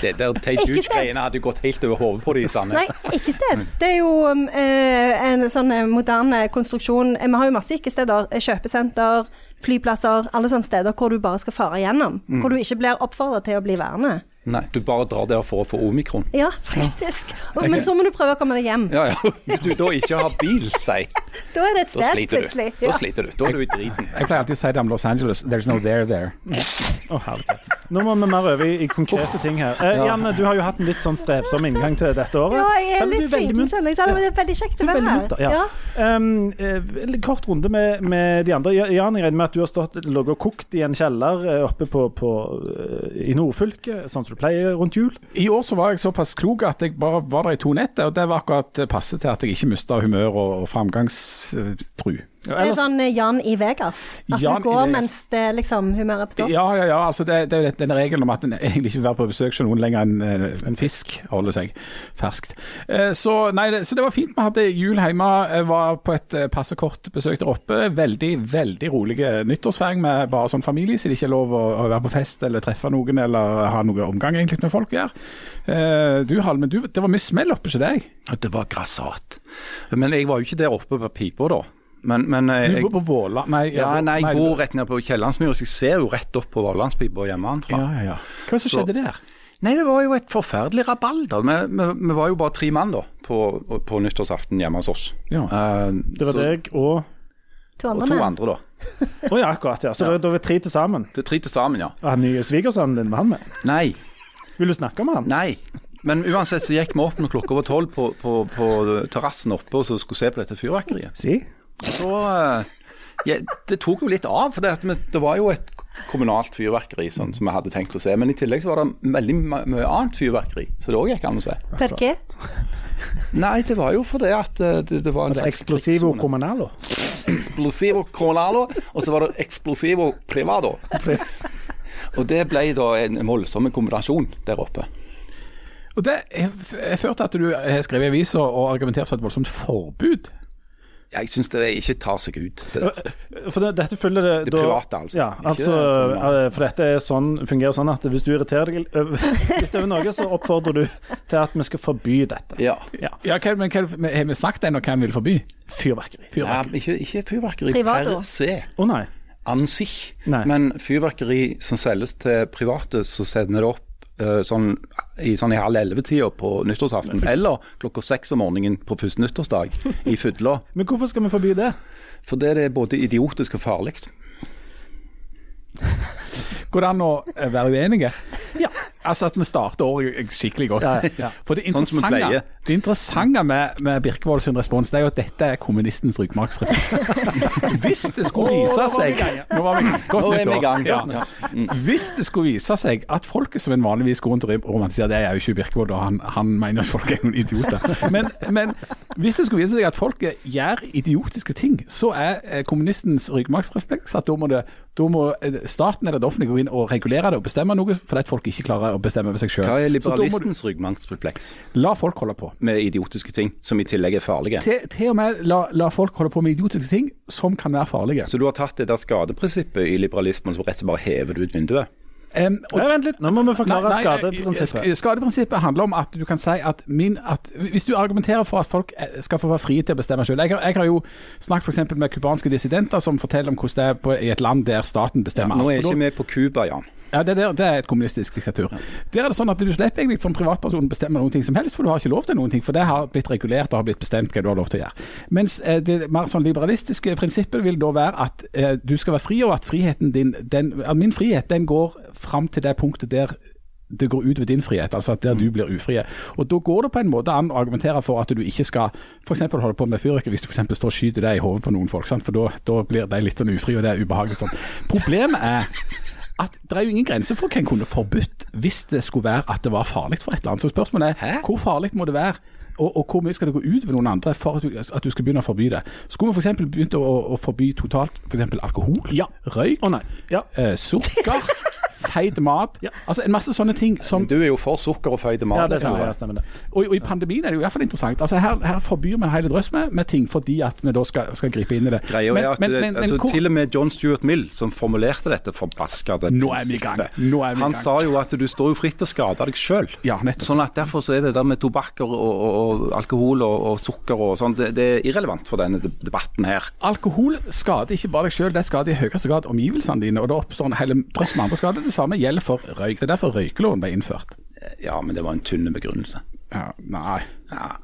[SPEAKER 2] Det der Tate
[SPEAKER 1] Ikke
[SPEAKER 2] Huge-greiene hadde jo gått helt over hodet på de,
[SPEAKER 1] Nei,
[SPEAKER 2] Sandnes.
[SPEAKER 1] ikke sted. Det er jo um, eh, en sånn eh, moderne konstruksjon. Eh, Vi har jo masse ikke-steder. eh, Kjøpesenter, flyplasser, alle sånne steder hvor du bare skal fare gjennom. Hvor du ikke blir oppfordret til å bli værende.
[SPEAKER 2] Nei, du bare drar der for å få omikron.
[SPEAKER 1] Ja, faktisk. Og, men så må du prøve å komme deg hjem.
[SPEAKER 2] Ja, ja. Hvis du da ikke har bil, si,
[SPEAKER 1] Da er det et
[SPEAKER 2] da
[SPEAKER 1] sted,
[SPEAKER 2] sliter du.
[SPEAKER 1] plutselig.
[SPEAKER 2] Da
[SPEAKER 1] Ja.
[SPEAKER 2] sliter du. Da er du i driten.
[SPEAKER 3] Jeg pleier alltid å si det om Los Angeles. There's no there there.
[SPEAKER 4] Å, herregud. Nå må vi mer over i, i konkrete ting her. Eh, Janne, du har jo hatt en litt sånn strevsom inngang til dette året.
[SPEAKER 1] Ja, jeg er
[SPEAKER 4] Selv om du
[SPEAKER 1] litt sliten,
[SPEAKER 4] munter.
[SPEAKER 1] skjønner jeg. Så det er veldig kjekt å
[SPEAKER 4] Du er
[SPEAKER 1] være
[SPEAKER 4] veldig
[SPEAKER 1] her.
[SPEAKER 4] munter, ja. Um, eh, en kort runde med, med de andre. Ja, Jan, jeg regner med at du har stått ligget og kokt i en kjeller eh, oppe på, på, eh, i nordfylket, sånn som du pleier rundt jul.
[SPEAKER 3] I år så var jeg såpass klok at jeg bare var der i to netter, og det var akkurat passe til at jeg ikke mista humør og, og framgangstru.
[SPEAKER 4] Ja,
[SPEAKER 1] Det er
[SPEAKER 4] ellers,
[SPEAKER 1] sånn eh, Jan i Vegas. At
[SPEAKER 3] Jan
[SPEAKER 1] du
[SPEAKER 3] i
[SPEAKER 1] går
[SPEAKER 3] Vegas.
[SPEAKER 1] mens det liksom humøret er på topp.
[SPEAKER 3] Ja, ja, ja. Altså det, det er jo det- denne regelen om at en egentlig ikke vil være på besøk hos noen lenger enn eh, en fisk holder seg ferskt. Eh, Så, nei, det, så det var fint. Vi hadde jul hjemme, eh, var på et eh, passe kort besøk der oppe. Veldig, veldig rolig nyttårsfeiring med bare sånn familie, så det ikke er lov å, å være på fest eller treffe noen eller ha noe omgang egentlig med folk å gjøre. Eh, Du, Halmen, du, det var mye smell oppe hos deg.
[SPEAKER 2] Ja, Det var grassat. Men jeg var jo ikke der oppe på pipa da. Men, men eh,
[SPEAKER 3] Du
[SPEAKER 2] jeg,
[SPEAKER 3] bor på Våla Nei,
[SPEAKER 2] ja, nei, jeg
[SPEAKER 3] du-
[SPEAKER 2] bor rett nede på Kiellandsmyra, så jeg ser jo rett opp på Vårlandspipa hjemmefra.
[SPEAKER 3] Ja, ja, ja. Hva som
[SPEAKER 2] Så-
[SPEAKER 3] skjedde der?
[SPEAKER 2] Nei, det var jo et forferdelig rabalder. Vi, vi, vi var jo bare tre mann da, på, på nyttårsaften hjemme hos oss.
[SPEAKER 3] Ja.
[SPEAKER 2] Eh,
[SPEAKER 4] Det var
[SPEAKER 2] så,
[SPEAKER 4] deg og
[SPEAKER 1] To
[SPEAKER 2] Og
[SPEAKER 1] andre
[SPEAKER 2] to
[SPEAKER 1] menn.
[SPEAKER 2] andre, da.
[SPEAKER 4] Å ja, akkurat. ja. Så det- da var tre til sammen.
[SPEAKER 2] Det er tre til sammen, ja.
[SPEAKER 4] Og han nye svigersønnen din, var han med?
[SPEAKER 2] Nei,
[SPEAKER 4] Vil du snakke med han?
[SPEAKER 2] nei. Men uansett så gikk vi opp når klokka var tolv på, på, på terrassen oppe og så skulle se på dette fyrverkeriet.
[SPEAKER 4] Si.
[SPEAKER 2] Så eh, ja, Det tok jo litt av, for det, at vi, det var jo et kommunalt fyrverkeri sånn, som vi hadde tenkt å se. Men i tillegg så var det veldig ma- mye annet fyrverkeri, så det òg gikk an å se.
[SPEAKER 1] Per hva?
[SPEAKER 2] Nei, det var jo fordi at eh, det, det var en
[SPEAKER 4] Det er
[SPEAKER 2] slags
[SPEAKER 4] Explosivo
[SPEAKER 2] krigssone.
[SPEAKER 4] Comunalo.
[SPEAKER 2] Explosivo Comunalo, og så var det Explosivo Privado. Og det ble da en voldsom kombinasjon der oppe.
[SPEAKER 3] Og det har ført til at du har skrevet i aviser og argumentert for et voldsomt forbud.
[SPEAKER 2] Jeg syns det ikke tar seg ut. Det der.
[SPEAKER 4] Eh, For det, dette følger det,
[SPEAKER 2] Det
[SPEAKER 4] da-
[SPEAKER 2] private, altså.
[SPEAKER 4] Ja,
[SPEAKER 2] Ikke
[SPEAKER 4] altså
[SPEAKER 2] det kommunale.
[SPEAKER 4] eh, for dette er sånn, fungerer sånn at hvis du irriterer deg over- litt over noe, så oppfordrer du til at vi skal forby dette.
[SPEAKER 2] Ja.
[SPEAKER 3] Ja, hva, men hva, men Har vi sagt ennå hva han vil forby?
[SPEAKER 4] Fyrverkeri. Å
[SPEAKER 2] ja ikke, ikke fyrverkeri
[SPEAKER 1] Privado.
[SPEAKER 2] per se,
[SPEAKER 4] nei.
[SPEAKER 2] an sich,
[SPEAKER 4] Nei.
[SPEAKER 2] men fyrverkeri som selges til private, så sender det opp eh, sånn i, sånn i halv elleve-tida på nyttårsaften, eller klokka seks om morgenen på første nyttårsdag i fylla.
[SPEAKER 4] Men hvorfor skal vi forby det?
[SPEAKER 2] For det er både idiotisk og farlig.
[SPEAKER 3] Går det an å eh, være uenige?
[SPEAKER 4] Ja.
[SPEAKER 3] Altså at vi starter året skikkelig godt.
[SPEAKER 4] Ja, ja.
[SPEAKER 3] For det
[SPEAKER 2] Sånn som vi
[SPEAKER 3] interessante,
[SPEAKER 2] pleier.
[SPEAKER 3] det interessante med, med Birkevold sin respons, det er jo at dette er kommunistens ryggmargsrefleks. Hvis det skulle vise seg Nå var vi godt
[SPEAKER 2] Nå er vi i
[SPEAKER 3] nyttår.
[SPEAKER 2] gang.
[SPEAKER 3] Ja.
[SPEAKER 2] Ja.
[SPEAKER 3] Hvis det skulle vise seg at folket som en vanligvis går rundt og romantiserer, det er jo ikke Birkevold, og han, han mener at folk er noen idioter. Men, men hvis det skulle vise seg at folket gjør idiotiske ting, så er eh, kommunistens ryggmargsrefleks at da må, det, da må eh, staten eller det offentlige gå inn og regulere det og bestemme noe, fordi at folk ikke klarer å bestemme over seg sjøl.
[SPEAKER 2] Hva er
[SPEAKER 3] Så da må du
[SPEAKER 2] liberalistens ryggmargsrefleks
[SPEAKER 3] la folk holde på.
[SPEAKER 2] med idiotiske ting som i tillegg er farlige?
[SPEAKER 3] Til, til og med la, la folk holde på med idiotiske ting som kan være farlige.
[SPEAKER 2] Så du har tatt det der skadeprinsippet i liberalismen som rett og slett bare hever det ut vinduet?
[SPEAKER 3] Em, og
[SPEAKER 4] Nei, vent litt, nå må vi
[SPEAKER 3] Nei,
[SPEAKER 4] forklare
[SPEAKER 3] nei, eh,
[SPEAKER 4] skadeprinsippet.
[SPEAKER 3] sk- Skadeprinsippet handler om at du kan si at, min, at Hvis du argumenterer for at folk eh, skal få være frie til å bestemme selv Jeg, har- jeg har jo snakket for eksempel med kubanske dissidenter som forteller om hvordan det er på, i et land der staten bestemmer
[SPEAKER 2] Nå er
[SPEAKER 3] alt. for
[SPEAKER 2] ikke
[SPEAKER 3] da-
[SPEAKER 2] vi på Cuba, Jan.
[SPEAKER 3] Ja, det, der, det er et kommunistisk diktatur. Der er det sånn at du slipper egentlig som privatperson bestemme noen ting som helst, for du har ikke lov til noen ting, for det har blitt regulert og har blitt bestemt hva du har lov til å gjøre. Mens eh, det mer sånn liberalistiske prinsippet vil da være at eh, du skal være fri, og at friheten din den, at Min frihet den går fram til det punktet der det går ut ved din frihet, altså at der du blir ufrie. Og Da går det på en måte an å argumentere for at du ikke skal for eksempel holde på med fyrverkeri hvis du for eksempel står og skyter det i hodet på noen folk, sant? for da da blir de litt sånn ufrie, og det er ubehagelig. Sånn. Problemet er at det er jo ingen grenser for hva en kunne forbudt hvis det skulle være at det var farlig for et eller annet. Så spørsmålet er hvor farlig må det være? Og, og hvor mye skal det gå ut ved noen andre for at du, at du skal begynne å forby det? Skulle vi f.eks. begynt å, å forby totalt for eksempel alkohol,
[SPEAKER 4] Ja.
[SPEAKER 3] røyk,
[SPEAKER 4] Å nei. Ja.
[SPEAKER 3] eh, sukker, feit mat
[SPEAKER 4] Ja.
[SPEAKER 3] Altså en masse sånne ting som
[SPEAKER 2] Du er jo for sukker og føyde mat.
[SPEAKER 4] ja, det
[SPEAKER 2] Tore.
[SPEAKER 4] stemmer, ja, stemmer det.
[SPEAKER 3] og, og i pandemien er det jo i hvert fall interessant. Altså Her, her forbyr vi en hel drøss med, med ting fordi at vi da skal, skal gripe inn i det.
[SPEAKER 2] Greia er at
[SPEAKER 3] men,
[SPEAKER 2] det-
[SPEAKER 3] men, men
[SPEAKER 2] altså,
[SPEAKER 3] hvor,
[SPEAKER 2] Til og med John Stuart Mill, som formulerte dette forbaskede
[SPEAKER 3] Nå er vi i gang. Nå er vi i
[SPEAKER 2] han
[SPEAKER 3] gang.
[SPEAKER 2] sa jo at du står jo fritt til å skade deg sjøl.
[SPEAKER 3] Ja, nettopp.
[SPEAKER 2] sånn at derfor så er det der med tobakk og, og, og alkohol og, og sukker og sånn, det, det er irrelevant for denne de- debatten her.
[SPEAKER 3] Alkohol skader ikke bare deg selv, det skader i høyeste grad omgivelsene dine. Og det oppstår en hel drøss med andre skader. Det samme gjelder for røyk. Det er derfor røykeloven ble innført.
[SPEAKER 2] Ja, men det var en tynn begrunnelse.
[SPEAKER 3] Ja, nei.
[SPEAKER 2] Ja.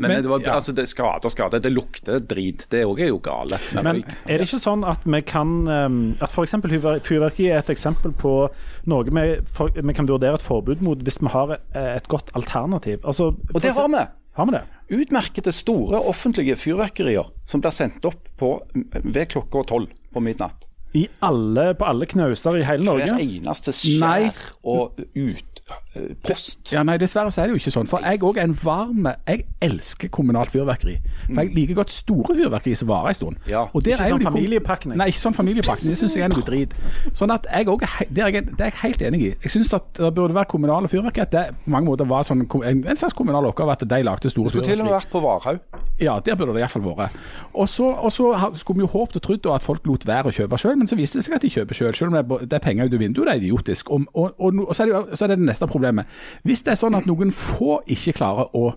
[SPEAKER 2] Men,
[SPEAKER 3] Men-
[SPEAKER 2] det var,
[SPEAKER 3] ja.
[SPEAKER 2] altså, det skader og skader. Det lukter drit. Det òg er jo gale. Men,
[SPEAKER 4] Men er det ikke sånn at vi kan ehm, At f.eks. fyrverkeri er et eksempel på noe vi, for, vi kan vurdere et forbud mot hvis vi har eh, et godt alternativ? Altså,
[SPEAKER 2] og det har vi.
[SPEAKER 4] Har vi det?
[SPEAKER 2] Utmerkede store offentlige fyrverkerier som blir sendt opp på, ved klokka tolv på midnatt.
[SPEAKER 4] I alle, på alle knauser i hele
[SPEAKER 2] Hver
[SPEAKER 4] Norge?
[SPEAKER 2] eneste
[SPEAKER 3] Nei.
[SPEAKER 2] skjær og ut, eh, post.
[SPEAKER 3] Ja, nei, dessverre så er det jo ikke sånn. For jeg òg er en varm Jeg elsker kommunalt fyrverkeri. For jeg liker godt store fyrverkeri som varer en stund.
[SPEAKER 2] Mm. Ja,
[SPEAKER 3] Og der
[SPEAKER 4] ikke
[SPEAKER 3] er jo
[SPEAKER 4] sånn
[SPEAKER 3] de kom-
[SPEAKER 4] familiepakning.
[SPEAKER 3] Nei, ikke sånn familiepakning. Det syns jeg er noe drit. Sånn at jeg òg er he- Det er jeg, det er jeg helt enig i. Jeg syns at det burde være kommunale fyrverkeri. At det på mange måter var sånn, kom- en en slags kommunal oppgave at de lagde store
[SPEAKER 2] Du har til og
[SPEAKER 3] fyrverkeri.
[SPEAKER 2] med vært på Varhaug.
[SPEAKER 3] Ja, der burde det iallfall vært. Og så, og så ha- skulle vi jo håpet og trodd da at folk lot være å kjøpe sjøl, men så viste det seg at de kjøper sjøl. Selv om det er, bo- det er penger ut av vinduet, det er idiotisk. Og, og, og, no- og så, er det, jo- så er det det neste problemet. Hvis det er sånn at noen få ikke klarer å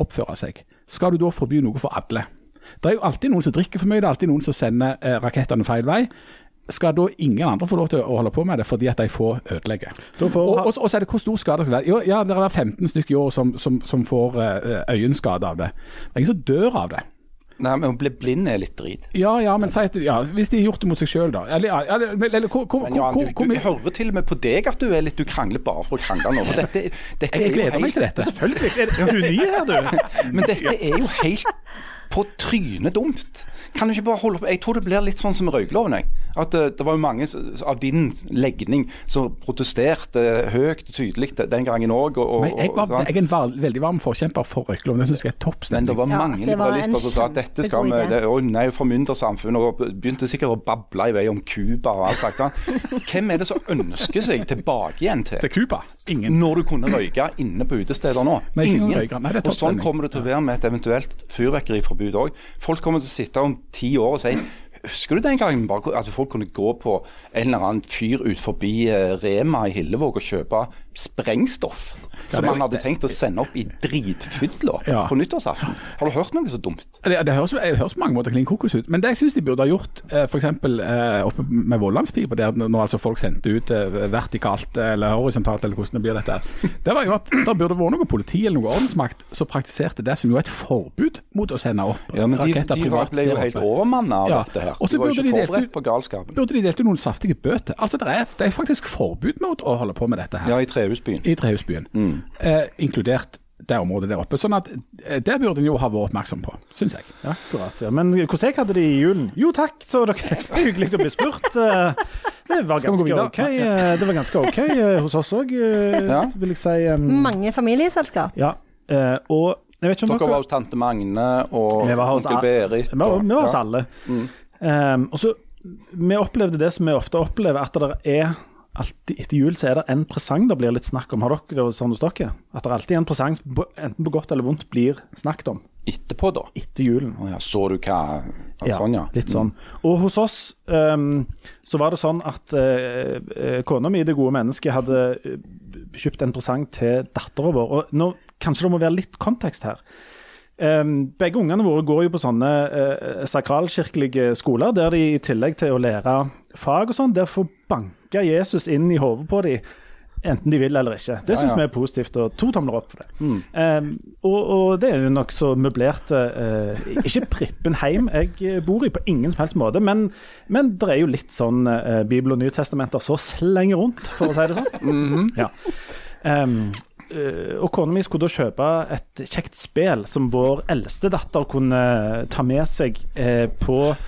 [SPEAKER 3] oppføre seg, skal du da forby noe for alle? Det er jo alltid noen som drikker for mye, det er alltid noen som sender eh, rakettene feil vei. skal da ingen andre få lov til å holde på med det, fordi at de få ødelegger.
[SPEAKER 4] Da får-
[SPEAKER 3] og, og, og så er det hvor stor skade det skal være. Jo, ja, det er 15 stykker i år som, som, som får eh, øyenskade av det. Det er ingen som dør av det.
[SPEAKER 2] Nei, men å bli blind er litt drit.
[SPEAKER 3] Ja, ja, men si at, du- ja, hvis de har gjort det mot seg sjøl, da. Eller, ja, eller, eller, hvor, hvor,
[SPEAKER 2] Men Jan,
[SPEAKER 3] hvor,
[SPEAKER 2] du,
[SPEAKER 3] hvor
[SPEAKER 2] du, jeg hører til og med på deg at du er litt Du krangler bare for å krangle nå. For dette, dette er
[SPEAKER 3] Jeg
[SPEAKER 2] jo
[SPEAKER 3] gleder meg
[SPEAKER 2] helt-
[SPEAKER 3] til dette.
[SPEAKER 4] Selvfølgelig. Er er du ny her, du?
[SPEAKER 2] Men dette er jo helt på trynet dumt. Kan du ikke bare holde på? Jeg tror det blir litt sånn som røykloven. jeg. At eh, det var jo mange s- av din legning som protesterte høyt og tydelig den gangen òg. Og, og,
[SPEAKER 3] Men jeg, var, jeg er en val, veldig varm forkjemper for røykeloven. Det syns jeg er topp
[SPEAKER 2] men
[SPEAKER 3] stemning.
[SPEAKER 2] det var
[SPEAKER 1] Ja,
[SPEAKER 2] mange
[SPEAKER 1] det var en
[SPEAKER 2] liberalister som sa at dette skal vi
[SPEAKER 1] kjempegod idé.
[SPEAKER 2] det, Å nei, formyndersamfunnet. Og begynte sikkert å bable i vei om Cuba og alt slags. sånn. Hvem er det som ønsker seg tilbake igjen til?
[SPEAKER 3] Til Cuba? Ingen.
[SPEAKER 2] Når du kunne røyke inne på utesteder nå.
[SPEAKER 3] Nei, ikke noen røykere. Nei, det er
[SPEAKER 2] og sånn
[SPEAKER 3] toppstemning.
[SPEAKER 2] kommer det til å være med et eventuelt fyrverkeriforbud òg. Folk kommer til å sitte om ti år og si Husker du den gangen bare, altså folk kunne gå på en eller annen fyr ut forbi eh, Rema i Hillevåg og kjøpe sprengstoff som
[SPEAKER 3] det er-
[SPEAKER 2] man hadde tenkt å sende opp i dritfydler
[SPEAKER 3] Ja.
[SPEAKER 2] på nyttårsaften? Har du hørt noe så dumt?
[SPEAKER 3] Det, det, høres, det høres på mange måter klin kokos ut, men det jeg syns de burde ha gjort, eh, f.eks. Eh, oppe med Vollandspipa, der når altså folk sendte ut eh, vertikalt eh, eller horisontalt, eller hvordan det blir dette, her, det var jo at det burde vært noe politi eller noe ordensmakt som praktiserte det som jo er et forbud mot å sende opp
[SPEAKER 2] Ja, men de,
[SPEAKER 3] raketter
[SPEAKER 2] de
[SPEAKER 3] privat.
[SPEAKER 2] ble jo
[SPEAKER 3] der
[SPEAKER 2] helt
[SPEAKER 3] oppe.
[SPEAKER 2] overmanna av
[SPEAKER 3] Ja,
[SPEAKER 2] dette her.
[SPEAKER 3] og så
[SPEAKER 2] De var jo
[SPEAKER 3] burde de
[SPEAKER 2] ikke
[SPEAKER 3] delt
[SPEAKER 2] forberedt
[SPEAKER 3] ut-
[SPEAKER 2] på galskapen.
[SPEAKER 3] Burde de delt ut noen saftige bøter? Altså, det er, det er faktisk forbud mot å holde på med dette her.
[SPEAKER 2] Ja, Mm. i Trehusbyen.
[SPEAKER 3] i Trehusbyen, eh, inkludert det området der oppe. Sånn at eh, det burde en jo ha vært oppmerksom på, syns jeg.
[SPEAKER 4] Ja, akkurat. Ja. Men hvordan jeg hadde det i julen? Jo takk, så dere det var Hyggelig å bli spurt. Eh, Det var
[SPEAKER 3] Skal vi gå
[SPEAKER 4] ganske
[SPEAKER 3] videre?
[SPEAKER 4] OK, eh, det var ganske ok eh, hos oss òg,
[SPEAKER 2] Ja.
[SPEAKER 4] vil jeg si. eh,
[SPEAKER 1] Mm. Mange familieselskap.
[SPEAKER 4] Ja. eh, Og jeg vet ikke
[SPEAKER 2] Dere
[SPEAKER 4] om
[SPEAKER 2] var
[SPEAKER 4] dere
[SPEAKER 2] hos tante Magne og
[SPEAKER 4] Vi var hos
[SPEAKER 2] onkel
[SPEAKER 4] alle.
[SPEAKER 2] Berit.
[SPEAKER 4] Vi var,
[SPEAKER 2] og-
[SPEAKER 4] vi var hos
[SPEAKER 2] ja.
[SPEAKER 4] alle. Eh, og så Vi opplevde det som vi ofte opplever, at det er alltid etter jul så er det en presang det blir litt snakk om. Har dere det sånn hos dere? At det er alltid en presang som på- enten på godt eller vondt blir snakket om
[SPEAKER 2] etterpå, da.
[SPEAKER 4] etter julen.
[SPEAKER 2] Å ja, så du hva ja, Sånn, ja.
[SPEAKER 4] Litt sånn. Og hos oss ehm, så var det sånn at eh, eh, kona mi, det gode mennesket, hadde eh, kjøpt en presang til dattera vår. Og nå, kanskje det må være litt kontekst her. Ehm, begge ungene våre går jo på sånne eh, sakralkirkelige skoler, der de i tillegg til å lære fag og sånn, der får banke Jesus inn i hodet på dem. Enten de vil eller ikke. Det
[SPEAKER 2] Ja,
[SPEAKER 4] syns
[SPEAKER 2] ja.
[SPEAKER 4] vi er positivt, og to tomler opp for det.
[SPEAKER 2] Mm.
[SPEAKER 4] Ehm, og, og det er jo nokså møblerte eh, Ikke Prippenheim jeg bor i på ingen som helst måte, men, men det er jo litt sånn eh, Bibel og Nytestamenter så slenger rundt, for å si det sånn. ja. Ehm, eh, og kona mi skulle da kjøpe et kjekt spel som vår eldste datter kunne ta med seg eh, på eh,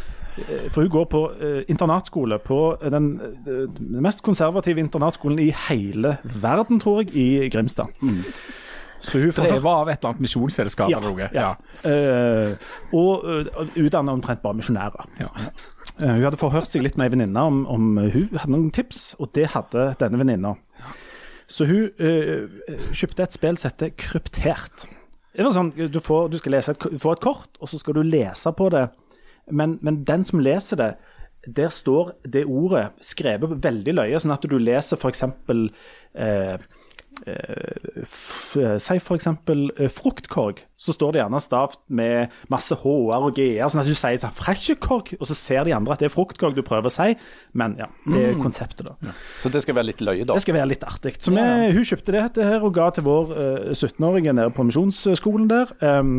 [SPEAKER 4] For hun går på eh, internatskole på den eh, den mest konservative internatskolen i hele verden, tror jeg, i Grimstad. Så hun får
[SPEAKER 3] Drevet av et eller annet misjonsselskap
[SPEAKER 4] Ja,
[SPEAKER 3] eller noe.
[SPEAKER 4] ja. Eh, og uh, utdanna omtrent bare misjonærer.
[SPEAKER 3] Ja.
[SPEAKER 4] Eh, Hun hadde forhørt seg litt med ei venninne om, om eh, hun hadde noen tips, og det hadde denne venninna. Så hun eh, kjøpte et spill som heter Kryptert. Det var sånn, du, får, du skal lese et, du får et kort, og så skal du lese på det. Men, men den som leser det, der står det ordet skrevet veldig løye, sånn at du leser f.eks. Eh, f- Si for eksempel eh, fruktkorg, så står det gjerne stavt med masse H-er og G-er. Sånn at du sier sånn frækkjekorg, og så ser de andre at det er fruktkorg du prøver å si. Men ja, det er konseptet, da.
[SPEAKER 2] Så det skal være litt løye, da.
[SPEAKER 4] Det skal være litt artig. Så vi, hun kjøpte dette her og ga til vår eh, 17-årige nede på misjonsskolen der. Em,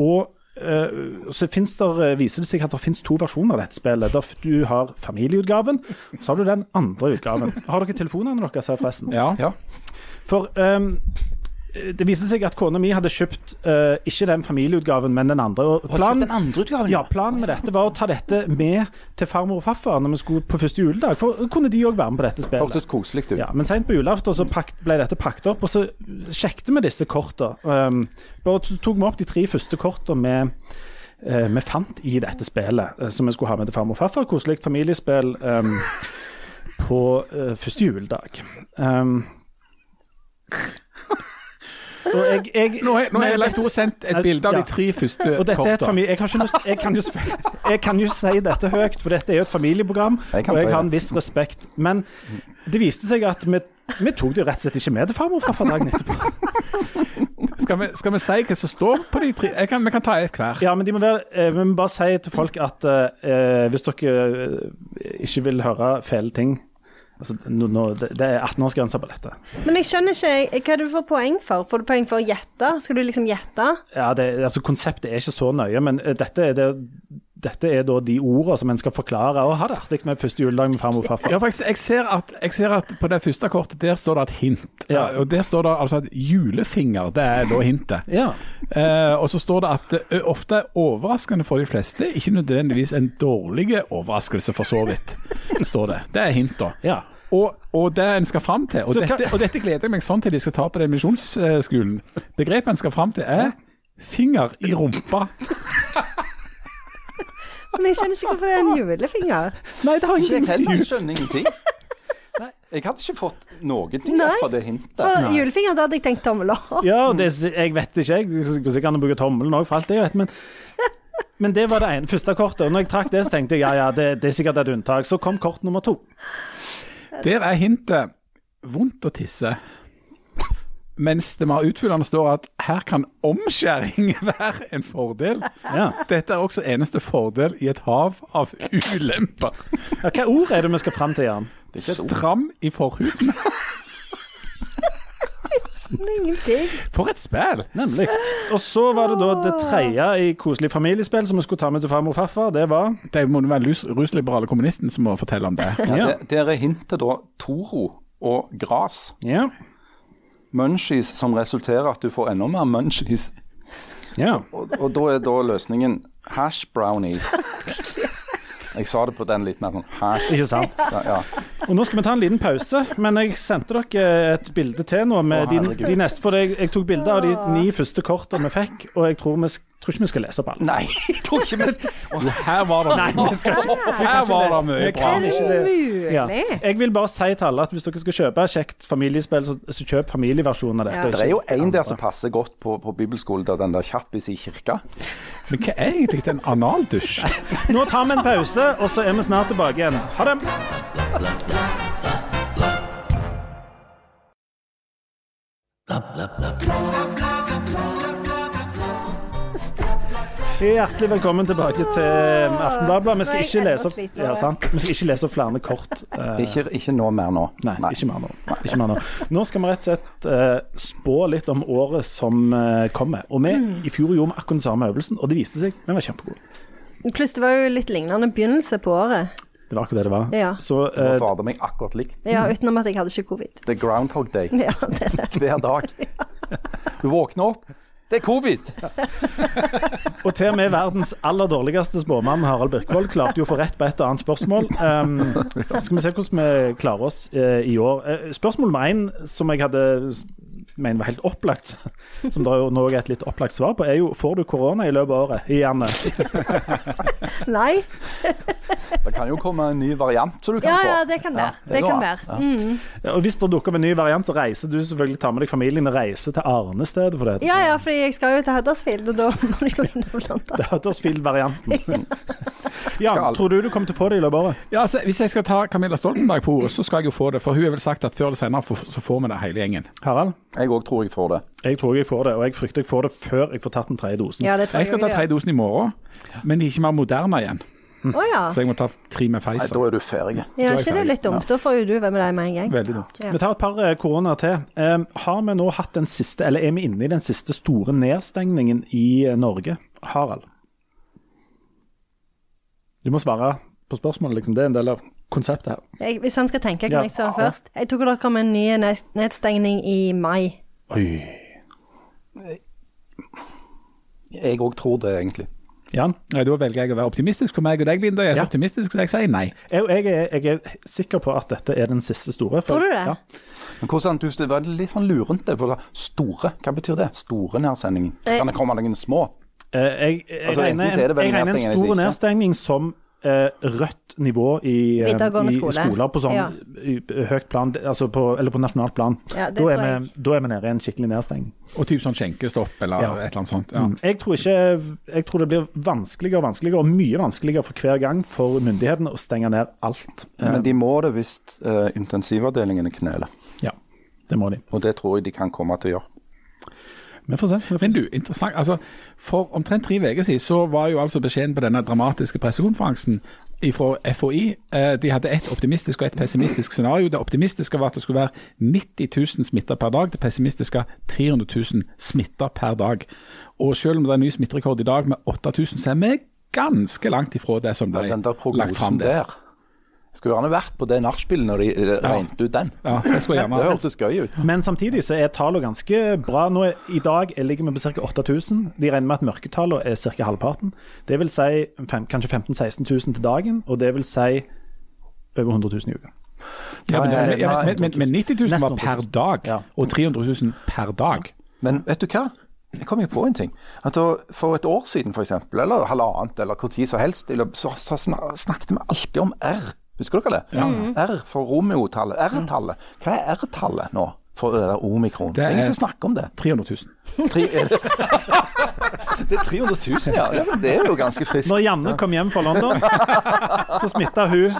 [SPEAKER 4] og eh, så finnes der, eh, viser det seg at det finnes to versjoner av dette spillet. Der f- du har familieutgaven, så har du den andre utgaven. Har dere telefonene deres her, forresten?
[SPEAKER 3] Ja.
[SPEAKER 2] Ja.
[SPEAKER 4] For ehm, det viste seg at kona mi hadde kjøpt eh, ikke den familieutgaven, men den andre. Og planen,
[SPEAKER 2] den andre utgaven?
[SPEAKER 4] ja, planen med dette var å ta dette med til farmor og farfar når vi skulle på første juledag, for kunne de òg være med på dette spillet.
[SPEAKER 2] Hørtes koselig ut.
[SPEAKER 4] Ja, men seint på julaften så pakt, ble dette pakket opp, og så sjekket vi disse kortene. Um, bare t- tok vi opp de tre første kortene vi, eh, vi fant i dette spillet, eh, som vi skulle ha med til farmor og farfar. Koselig familiespill um, på eh, første juledag. Um, og jeg, jeg,
[SPEAKER 3] Nå har nå
[SPEAKER 4] Nei,
[SPEAKER 3] har Leif
[SPEAKER 4] dette-
[SPEAKER 3] Tore sendt et
[SPEAKER 4] Nei,
[SPEAKER 3] bilde av
[SPEAKER 4] ja.
[SPEAKER 3] de tre første
[SPEAKER 4] og dette er et
[SPEAKER 3] kortene.
[SPEAKER 4] familie... Jeg, har ikke lyst, jeg, kan jo, selvfølgelig- jeg kan jo si dette høyt, for dette er jo et familieprogram,
[SPEAKER 2] Jeg kan
[SPEAKER 4] og
[SPEAKER 2] si
[SPEAKER 4] jeg har
[SPEAKER 2] det.
[SPEAKER 4] en viss respekt. Men det viste seg at vi Vi tok det jo rett og slett ikke med til farmor fra dagen etterpå.
[SPEAKER 3] Skal vi, skal vi si hva som står på de tre? Jeg kan, vi kan ta et hver.
[SPEAKER 4] Ja, men de må være, eh, vi må bare si til folk at eh, hvis dere eh, ikke vil høre fæle ting altså, nå, nå, det, det er 18-årsgrense på dette.
[SPEAKER 1] Men jeg skjønner ikke eh, hva du får poeng for. Får du poeng for å gjette? Skal du liksom gjette?
[SPEAKER 4] Ja, det, altså, konseptet er ikke så nøye, men eh, dette, er det, dette er da de ordene som en skal forklare og ha det artig med første juledag med farmor og farfar.
[SPEAKER 3] Ja, for jeg, jeg, ser at, jeg ser at på det første kortet der står det et hint.
[SPEAKER 4] Ja.
[SPEAKER 3] Og der står det altså at julefinger, det er da hintet.
[SPEAKER 4] Ja.
[SPEAKER 3] Eh, og så står det at det ofte er overraskende for de fleste, ikke nødvendigvis en dårlig overraskelse for så vidt. står Det Det er hint, da.
[SPEAKER 4] Ja.
[SPEAKER 3] Og, og det en skal fram til, og
[SPEAKER 4] Så hva-
[SPEAKER 3] dette, og dette gleder jeg meg sånn til de skal ta på den misjonsskolen Begrepet en skal fram til er finger i rumpa.
[SPEAKER 1] Men jeg skjønner ikke hvorfor det er en julefinger.
[SPEAKER 4] Nei, det har
[SPEAKER 2] Ikke
[SPEAKER 4] jeg
[SPEAKER 2] jeg
[SPEAKER 4] ikke
[SPEAKER 2] heller skjønner ingenting. Jeg hadde ikke fått noen ting
[SPEAKER 1] Nei.
[SPEAKER 2] fra det hintet.
[SPEAKER 1] For julefinger, da hadde jeg tenkt tommel opp.
[SPEAKER 4] Ja, og det, jeg vet ikke, jeg. Det går sikkert an å bruke tommelen òg, for alt det jeg vet. Men, men det var det ene, første kortet. Og når jeg trakk det, så tenkte jeg ja, ja, det, det er sikkert et unntak. Så kom kort nummer to.
[SPEAKER 3] Der er hintet vondt å tisse. Mens det mer utfyllende står at her kan omskjæring være en fordel.
[SPEAKER 4] Ja.
[SPEAKER 3] Dette er også eneste fordel i et hav av ulemper.
[SPEAKER 4] Ja, hva ord er det vi skal fram til, Jan?
[SPEAKER 2] Det er ikke et ord.
[SPEAKER 3] Stram i forhuden.
[SPEAKER 1] Ingenting.
[SPEAKER 3] For et spill!
[SPEAKER 4] Nemlig. Og så var det da det tredje i koselig familiespill som vi skulle ta med til farmor og farfar. Det var
[SPEAKER 3] Det må jo være lus- rusliberale kommunisten som må fortelle om det.
[SPEAKER 4] Ja.
[SPEAKER 2] Det- Der er hintet da Toro og gras.
[SPEAKER 4] ja.
[SPEAKER 2] Munchies som resulterer at du får enda mer munchies.
[SPEAKER 4] ja.
[SPEAKER 2] Og, og da er da løsningen hash brownies. Jeg sa det på den litt mer sånn hash.
[SPEAKER 4] Ikke sant?
[SPEAKER 2] Ja, ja.
[SPEAKER 4] Og nå skal vi ta en liten pause, men jeg sendte dere et bilde til nå. Med
[SPEAKER 2] Å,
[SPEAKER 4] de,
[SPEAKER 2] herregud.
[SPEAKER 4] de neste, for jeg, jeg tok bilde av de ni første kortene vi fikk, og jeg tror, vi, sk- tror ikke vi skal lese på alle.
[SPEAKER 2] Nei, jeg tror ikke vi
[SPEAKER 3] Jo, her var det
[SPEAKER 4] Nei, vi skal ikke-
[SPEAKER 3] Her var det mye
[SPEAKER 4] Jeg
[SPEAKER 3] bra.
[SPEAKER 4] kan ikke det.
[SPEAKER 1] Mulig.
[SPEAKER 4] Ja. Jeg vil bare si til alle at hvis dere skal kjøpe et kjekt familiespill, så, så kjøp familieversjonen av dette.
[SPEAKER 1] Ja.
[SPEAKER 4] og
[SPEAKER 2] Det er jo
[SPEAKER 4] ikke
[SPEAKER 2] en der
[SPEAKER 4] andre.
[SPEAKER 2] som passer godt på, på bibelskolen, der den der kjappis i kirka.
[SPEAKER 3] Men hva er egentlig en analdusj?
[SPEAKER 4] Nå tar vi en pause, og så er vi snart tilbake igjen. Ha det. Hjertelig velkommen tilbake til Aftenbladet. Vi skal
[SPEAKER 1] Nei,
[SPEAKER 4] ikke
[SPEAKER 1] enda
[SPEAKER 4] lese opp,
[SPEAKER 1] sliter
[SPEAKER 4] ja,
[SPEAKER 1] jeg.
[SPEAKER 4] sant? Vi skal ikke lese opp flere kort. eh,
[SPEAKER 2] Ikke, ikke nå mer nå.
[SPEAKER 4] Nei, Ikke, mer nå. ikke mer nå. Nå skal vi rett og slett eh, spå litt om året som eh, kommer. Og vi i fjor gjorde vi akkurat den samme øvelsen, og det viste seg vi var kjempegode.
[SPEAKER 1] Pluss det var jo litt lignende begynnelse på året.
[SPEAKER 4] Det var akkurat det det var.
[SPEAKER 1] Ja.
[SPEAKER 4] Så
[SPEAKER 2] Det var
[SPEAKER 4] eh,
[SPEAKER 2] fader meg akkurat likt.
[SPEAKER 1] Ja,
[SPEAKER 4] Mm.
[SPEAKER 1] utenom at jeg hadde ikke covid.
[SPEAKER 2] Det er Groundhog Day
[SPEAKER 1] Ja, det er det.
[SPEAKER 2] hver dag. Du våkner opp, det er covid!
[SPEAKER 4] Og til og med verdens aller dårligste spåmann, Harald Birkvold, klarte jo å få rett på et og annet spørsmål. Um, skal vi se hvordan vi klarer oss eh, i år. Eh, spørsmål nummer én, som jeg hadde s- mener var helt opplagt, som det jo nå er et litt opplagt svar på, er jo får du korona i løpet av året? I Janne.
[SPEAKER 1] Nei.
[SPEAKER 2] Det kan jo komme en ny variant som du kan
[SPEAKER 1] Ja,
[SPEAKER 2] få.
[SPEAKER 1] ja, det kan være.
[SPEAKER 2] det
[SPEAKER 1] Det kan
[SPEAKER 2] går an.
[SPEAKER 1] være. Mm.
[SPEAKER 4] Og hvis det dukker opp en ny variant, så reiser du selvfølgelig, tar med deg familien og reiser til Arnestedet for det.
[SPEAKER 1] Ja, ja, fordi jeg skal jo til Huddersfield, og da må jeg jo innom London.
[SPEAKER 4] Det er Huddersfield-varianten. Jan,
[SPEAKER 2] Skal-
[SPEAKER 4] tror du du kommer til å få det i løpet av året?
[SPEAKER 3] Ja, altså, hvis jeg skal ta Camilla Stoltenberg på ordet, så skal jeg jo få det. For hun har vel sagt at før eller senere får- så får vi det hele gjengen.
[SPEAKER 4] Harald?
[SPEAKER 2] Jeg òg tror jeg får det.
[SPEAKER 4] Jeg tror jeg får det, og jeg frykter jeg får det før jeg får tatt den tredje dosen.
[SPEAKER 1] Ja, det tror
[SPEAKER 3] Jeg skal ta
[SPEAKER 1] jeg
[SPEAKER 3] tredje
[SPEAKER 1] jeg gjør.
[SPEAKER 3] dosen i morgen, men de er ikke mer moderne igjen.
[SPEAKER 1] Å ja.
[SPEAKER 3] Så jeg må ta tre med
[SPEAKER 2] Nei,
[SPEAKER 3] Pfizer.
[SPEAKER 2] da er du ferdig.
[SPEAKER 1] Ja,
[SPEAKER 3] jeg
[SPEAKER 1] ikke det er litt dumt? Da får jo du være med deg med en gang.
[SPEAKER 3] Veldig dumt.
[SPEAKER 1] Ja.
[SPEAKER 4] Vi tar et par eh, koronaer til. Eh, har vi nå hatt den siste, eller er vi inne i den siste store nedstengningen i eh, Norge? Harald? Du må svare på spørsmålet, liksom. Det er en del av konseptet her.
[SPEAKER 1] Jeg, hvis han skal tenke, kan
[SPEAKER 4] Ja.
[SPEAKER 1] jeg svare først. Jeg tror det kommer en ny nes- nedstengning i mai.
[SPEAKER 4] Oi.
[SPEAKER 2] Jeg òg tror det, egentlig.
[SPEAKER 4] Jan?
[SPEAKER 3] Nei, da velger jeg å være optimistisk for meg og deg, Linda. Jeg er så
[SPEAKER 4] Ja.
[SPEAKER 3] optimistisk, så jeg sier nei.
[SPEAKER 4] Jeg, jeg, er, jeg er sikker på at dette er den siste store. for-
[SPEAKER 1] Tror du det?
[SPEAKER 4] Ja.
[SPEAKER 2] Men hvordan, du, det var litt sånn lurent, det. For det var store, hva betyr det? Store nærsendingen?
[SPEAKER 1] Eh.
[SPEAKER 2] Kan det komme noen små?
[SPEAKER 4] Eh, jeg jeg,
[SPEAKER 2] Altså, enten
[SPEAKER 4] regner,
[SPEAKER 2] så er det
[SPEAKER 4] en,
[SPEAKER 2] vel
[SPEAKER 4] jeg regner en
[SPEAKER 2] nedstengning,
[SPEAKER 4] stor
[SPEAKER 2] eller ikke.
[SPEAKER 4] nedstengning som eh, rødt nivå i, eh,
[SPEAKER 1] Videregående
[SPEAKER 4] i
[SPEAKER 1] skole.
[SPEAKER 4] skoler på sånn
[SPEAKER 1] Ja.
[SPEAKER 4] i- i høyt plan, altså på, eller på nasjonalt plan.
[SPEAKER 1] Ja, det
[SPEAKER 4] da,
[SPEAKER 1] tror
[SPEAKER 4] er
[SPEAKER 1] jeg.
[SPEAKER 4] vi, da er vi nede i en skikkelig nedstengning.
[SPEAKER 3] Og typ sånn skjenkestopp eller
[SPEAKER 4] Ja. Mm.
[SPEAKER 3] et eller annet sånt. Ja.
[SPEAKER 4] Jeg tror, ikke, jeg tror det blir vanskeligere og vanskeligere, og mye vanskeligere for hver gang for myndighetene å stenge ned alt. Eh,
[SPEAKER 2] Men de må det hvis eh, intensivavdelingene kneler.
[SPEAKER 3] Ja.
[SPEAKER 4] Det må de.
[SPEAKER 2] Og det tror jeg de kan komme til å gjøre.
[SPEAKER 4] Vi får se. Vi får
[SPEAKER 3] Men
[SPEAKER 4] se.
[SPEAKER 3] du, interessant. altså For omtrent tre uker siden så var jo altså beskjeden på denne dramatiske pressekonferansen fra FHI eh, De hadde ett optimistisk og ett pessimistisk scenario. Det optimistiske var at det skulle være 90 000 smitta per dag. Det pessimistiske 300 000 smitta per dag. Og selv om det er en ny smitterekord i dag med 8000, så er vi ganske langt ifra det som ble
[SPEAKER 2] Den der
[SPEAKER 3] lagt fram
[SPEAKER 2] prognosen
[SPEAKER 3] der.
[SPEAKER 2] der Skulle gjerne vært på det nachspielet når de eh, regnet ut den.
[SPEAKER 3] Ja, det skulle jeg
[SPEAKER 2] Det
[SPEAKER 3] gjerne
[SPEAKER 2] hørtes gøy ut.
[SPEAKER 4] Men samtidig så er tallene ganske bra. Nå er, I dag ligger vi på ca. 8000. De regner med at mørketallene er ca. halvparten. Det vil si fem, kanskje 15 000-16 000 til dagen, og det vil si over 100 000 i uka.
[SPEAKER 3] ja, men,
[SPEAKER 2] Nei,
[SPEAKER 3] ja,
[SPEAKER 2] nei,
[SPEAKER 3] men, men, men 90 000 var
[SPEAKER 4] Nesten
[SPEAKER 3] per
[SPEAKER 4] 100 000. Ja.
[SPEAKER 3] dag, og 300 000 per dag.
[SPEAKER 2] Men vet du hva? Jeg kom jo på en ting. At da- For et år siden, f.eks., eller halvannet, eller hvor tid som helst, i løpet- så, så sna- snakket vi alltid om R. Husker dere det? R for Romeo-tallet. R-tallet. Hva er R-tallet nå for det der omikron? Det
[SPEAKER 3] er-
[SPEAKER 2] er ingen som snakker om det.
[SPEAKER 3] 300 000.
[SPEAKER 2] Tre, er det, det er 300 000, ja. ja. men Det er jo ganske friskt.
[SPEAKER 4] Når Janne kom hjem fra London, så smitta hun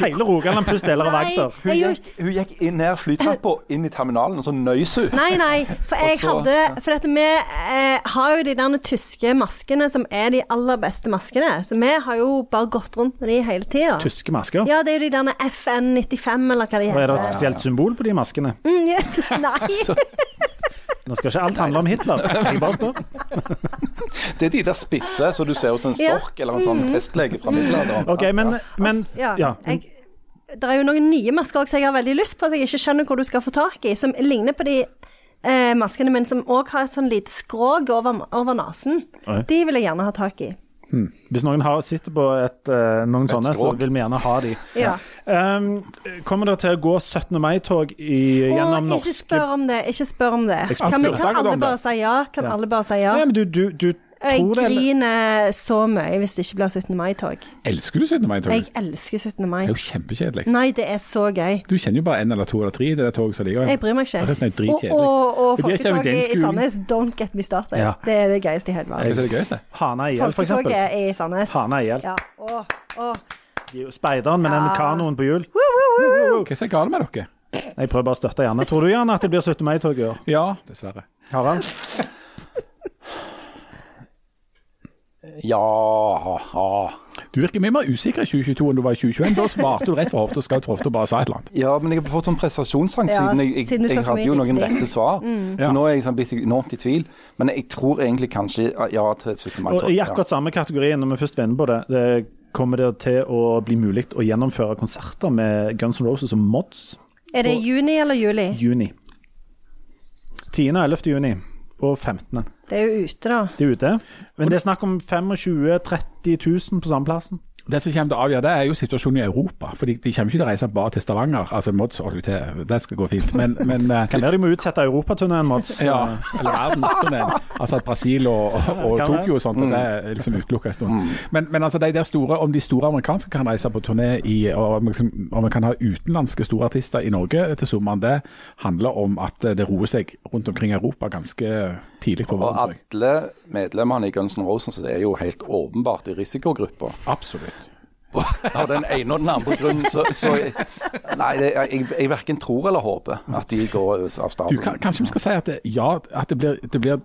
[SPEAKER 4] hele Rogaland pluss deler av Agder.
[SPEAKER 2] Hun
[SPEAKER 1] Nei, jeg
[SPEAKER 2] gikk, hun gikk inn ned flytrappa, inn i terminalen, og så nøys hun.
[SPEAKER 1] Nei, nei. For jeg
[SPEAKER 2] Og så-
[SPEAKER 1] hadde For dette, vi eh, har jo de der tyske maskene som er de aller beste maskene. Så vi har jo bare gått rundt med de hele tida.
[SPEAKER 4] Tyske masker.
[SPEAKER 1] Ja, det er jo de der FN95 eller hva de
[SPEAKER 4] Og er
[SPEAKER 1] heter.
[SPEAKER 4] det et spesielt symbol på de maskene?
[SPEAKER 1] Mm, ja. Nei.
[SPEAKER 4] Nå skal ikke alt handle om Hitler. Jeg bare spør.
[SPEAKER 2] Det er de der spisse som du ser hos en
[SPEAKER 1] Ja. Mm.
[SPEAKER 2] stork eller en sånn testlege fra middelalderen.
[SPEAKER 4] OK, men, men
[SPEAKER 1] Ja.
[SPEAKER 4] ja.
[SPEAKER 1] Jeg, det er jo noen nye masker også jeg har veldig lyst på, at jeg ikke skjønner hvor du skal få tak i, som ligner på de eh, maskene, men som òg har et sånn lite skrog over, over nesen.
[SPEAKER 4] Oi.
[SPEAKER 1] De vil jeg gjerne ha tak i.
[SPEAKER 4] Hvis noen har, sitter på et, eh, noen sånne, så
[SPEAKER 2] skrog.
[SPEAKER 4] vil vi gjerne ha de.
[SPEAKER 1] Ja.
[SPEAKER 4] Um, kommer det til å gå 17. mai-tog i- gjennom
[SPEAKER 1] Å, ikke
[SPEAKER 4] norske
[SPEAKER 1] spør om det, ikke spør om det.
[SPEAKER 4] Eksport-
[SPEAKER 1] Kan, vi,
[SPEAKER 3] Snakker
[SPEAKER 1] kan
[SPEAKER 3] om
[SPEAKER 1] alle
[SPEAKER 3] det.
[SPEAKER 1] bare si ja? Kan
[SPEAKER 4] Ja.
[SPEAKER 1] alle bare si ja?
[SPEAKER 4] Nei, men du, du, du
[SPEAKER 1] Jeg
[SPEAKER 4] tror det eller?
[SPEAKER 1] griner så mye hvis det ikke blir 17. mai-tog.
[SPEAKER 3] Elsker du 17. mai-tog?
[SPEAKER 1] Jeg elsker 17. mai.
[SPEAKER 3] Det er jo kjempekjedelig.
[SPEAKER 1] Nei, det er så gøy.
[SPEAKER 3] Du kjenner jo bare en eller to eller tre i det der toget som ligger
[SPEAKER 1] Jeg bryr meg ikke.
[SPEAKER 3] Resten
[SPEAKER 4] sånn
[SPEAKER 3] er sånn
[SPEAKER 1] og
[SPEAKER 3] dritkjedelig.
[SPEAKER 1] og, og
[SPEAKER 3] Det blir ikke evidens,
[SPEAKER 1] folketoget i
[SPEAKER 3] skolen.
[SPEAKER 1] Sandnes, don't get me started.
[SPEAKER 4] Ja.
[SPEAKER 1] Det er det gøyeste i hele
[SPEAKER 3] Hva
[SPEAKER 1] verden.
[SPEAKER 3] er det gøyeste?
[SPEAKER 4] Hana IL, for eksempel.
[SPEAKER 1] Folketoget i Sandnes.
[SPEAKER 4] Hana IL.
[SPEAKER 1] Ja. Åh, åh.
[SPEAKER 4] De er jo Speideren med den
[SPEAKER 1] Ja.
[SPEAKER 4] kanoen på hjul.
[SPEAKER 1] Woo, woo, woo, woo.
[SPEAKER 3] Hva er så galt med dere?
[SPEAKER 4] Jeg prøver bare å støtte Janne. Tror du Janne at det blir 17. mai-tog i år?
[SPEAKER 3] Ja, dessverre.
[SPEAKER 4] Harald?
[SPEAKER 2] Ja, ha.
[SPEAKER 3] Du virker mye mer usikker i 2022 enn du var i 2021. Da svarte du rett fra hofta, skaut fra hofta og bare sa et eller annet.
[SPEAKER 2] Ja, men jeg har fått sånn prestasjonsangst
[SPEAKER 1] Ja,
[SPEAKER 2] siden jeg, jeg,
[SPEAKER 1] siden du sa
[SPEAKER 2] jeg
[SPEAKER 1] så
[SPEAKER 2] hadde
[SPEAKER 1] mye
[SPEAKER 2] jo noen
[SPEAKER 1] riktig. Mm.
[SPEAKER 2] rette svar. Så
[SPEAKER 3] Ja.
[SPEAKER 2] nå er jeg sånn blitt enormt i tvil. Men jeg tror egentlig kanskje ja til 17. mai.
[SPEAKER 4] Og
[SPEAKER 2] tror jeg.
[SPEAKER 4] I
[SPEAKER 2] Ja.
[SPEAKER 4] akkurat samme kategorien, når vi først vinner på det, det kommer det til å bli mulig å gjennomføre konserter med Guns N' Roses og Mods
[SPEAKER 1] Er det juni eller juli?
[SPEAKER 4] i juni. 10. og 11. juni. Og 15.
[SPEAKER 1] Det er jo ute, da.
[SPEAKER 4] Det er ute. Men det er snakk om 25 000-30 000 på samme plassen.
[SPEAKER 3] Det som kommer til å avgjøre det, er jo situasjonen i Europa. For de, de kommer ikke til å reise bare til Stavanger. Altså, Mods holder jo til, det skal gå fint. Men, men eh,
[SPEAKER 4] Kan være de må utsette Europaturneen, Mods. Eh,
[SPEAKER 3] ja, eller verdensturneen. Altså at Brasil og, og, og
[SPEAKER 4] Kan
[SPEAKER 3] Tokyo og sånt, og det er liksom utelukka en stund. Men, men altså de der store, om de store amerikanske kan reise på turné i Og om liksom- om man kan ha utenlandske store artister i Norge til sommeren, det handler om at eh, det roer seg rundt omkring i Europa ganske tidlig på
[SPEAKER 2] Og
[SPEAKER 3] våren. tror jeg.
[SPEAKER 2] alle medlemmene i Guns N' Roses er jo helt åpenbart i risikogruppa.
[SPEAKER 3] Absolutt.
[SPEAKER 2] Av den ene og den andre grunnen, så, så jeg- Nei, det, jeg, jeg verken tror eller håper at de går av
[SPEAKER 3] Du, kan,
[SPEAKER 2] stabelen.
[SPEAKER 3] kanskje vi skal si at det, ja, at det blir, det blir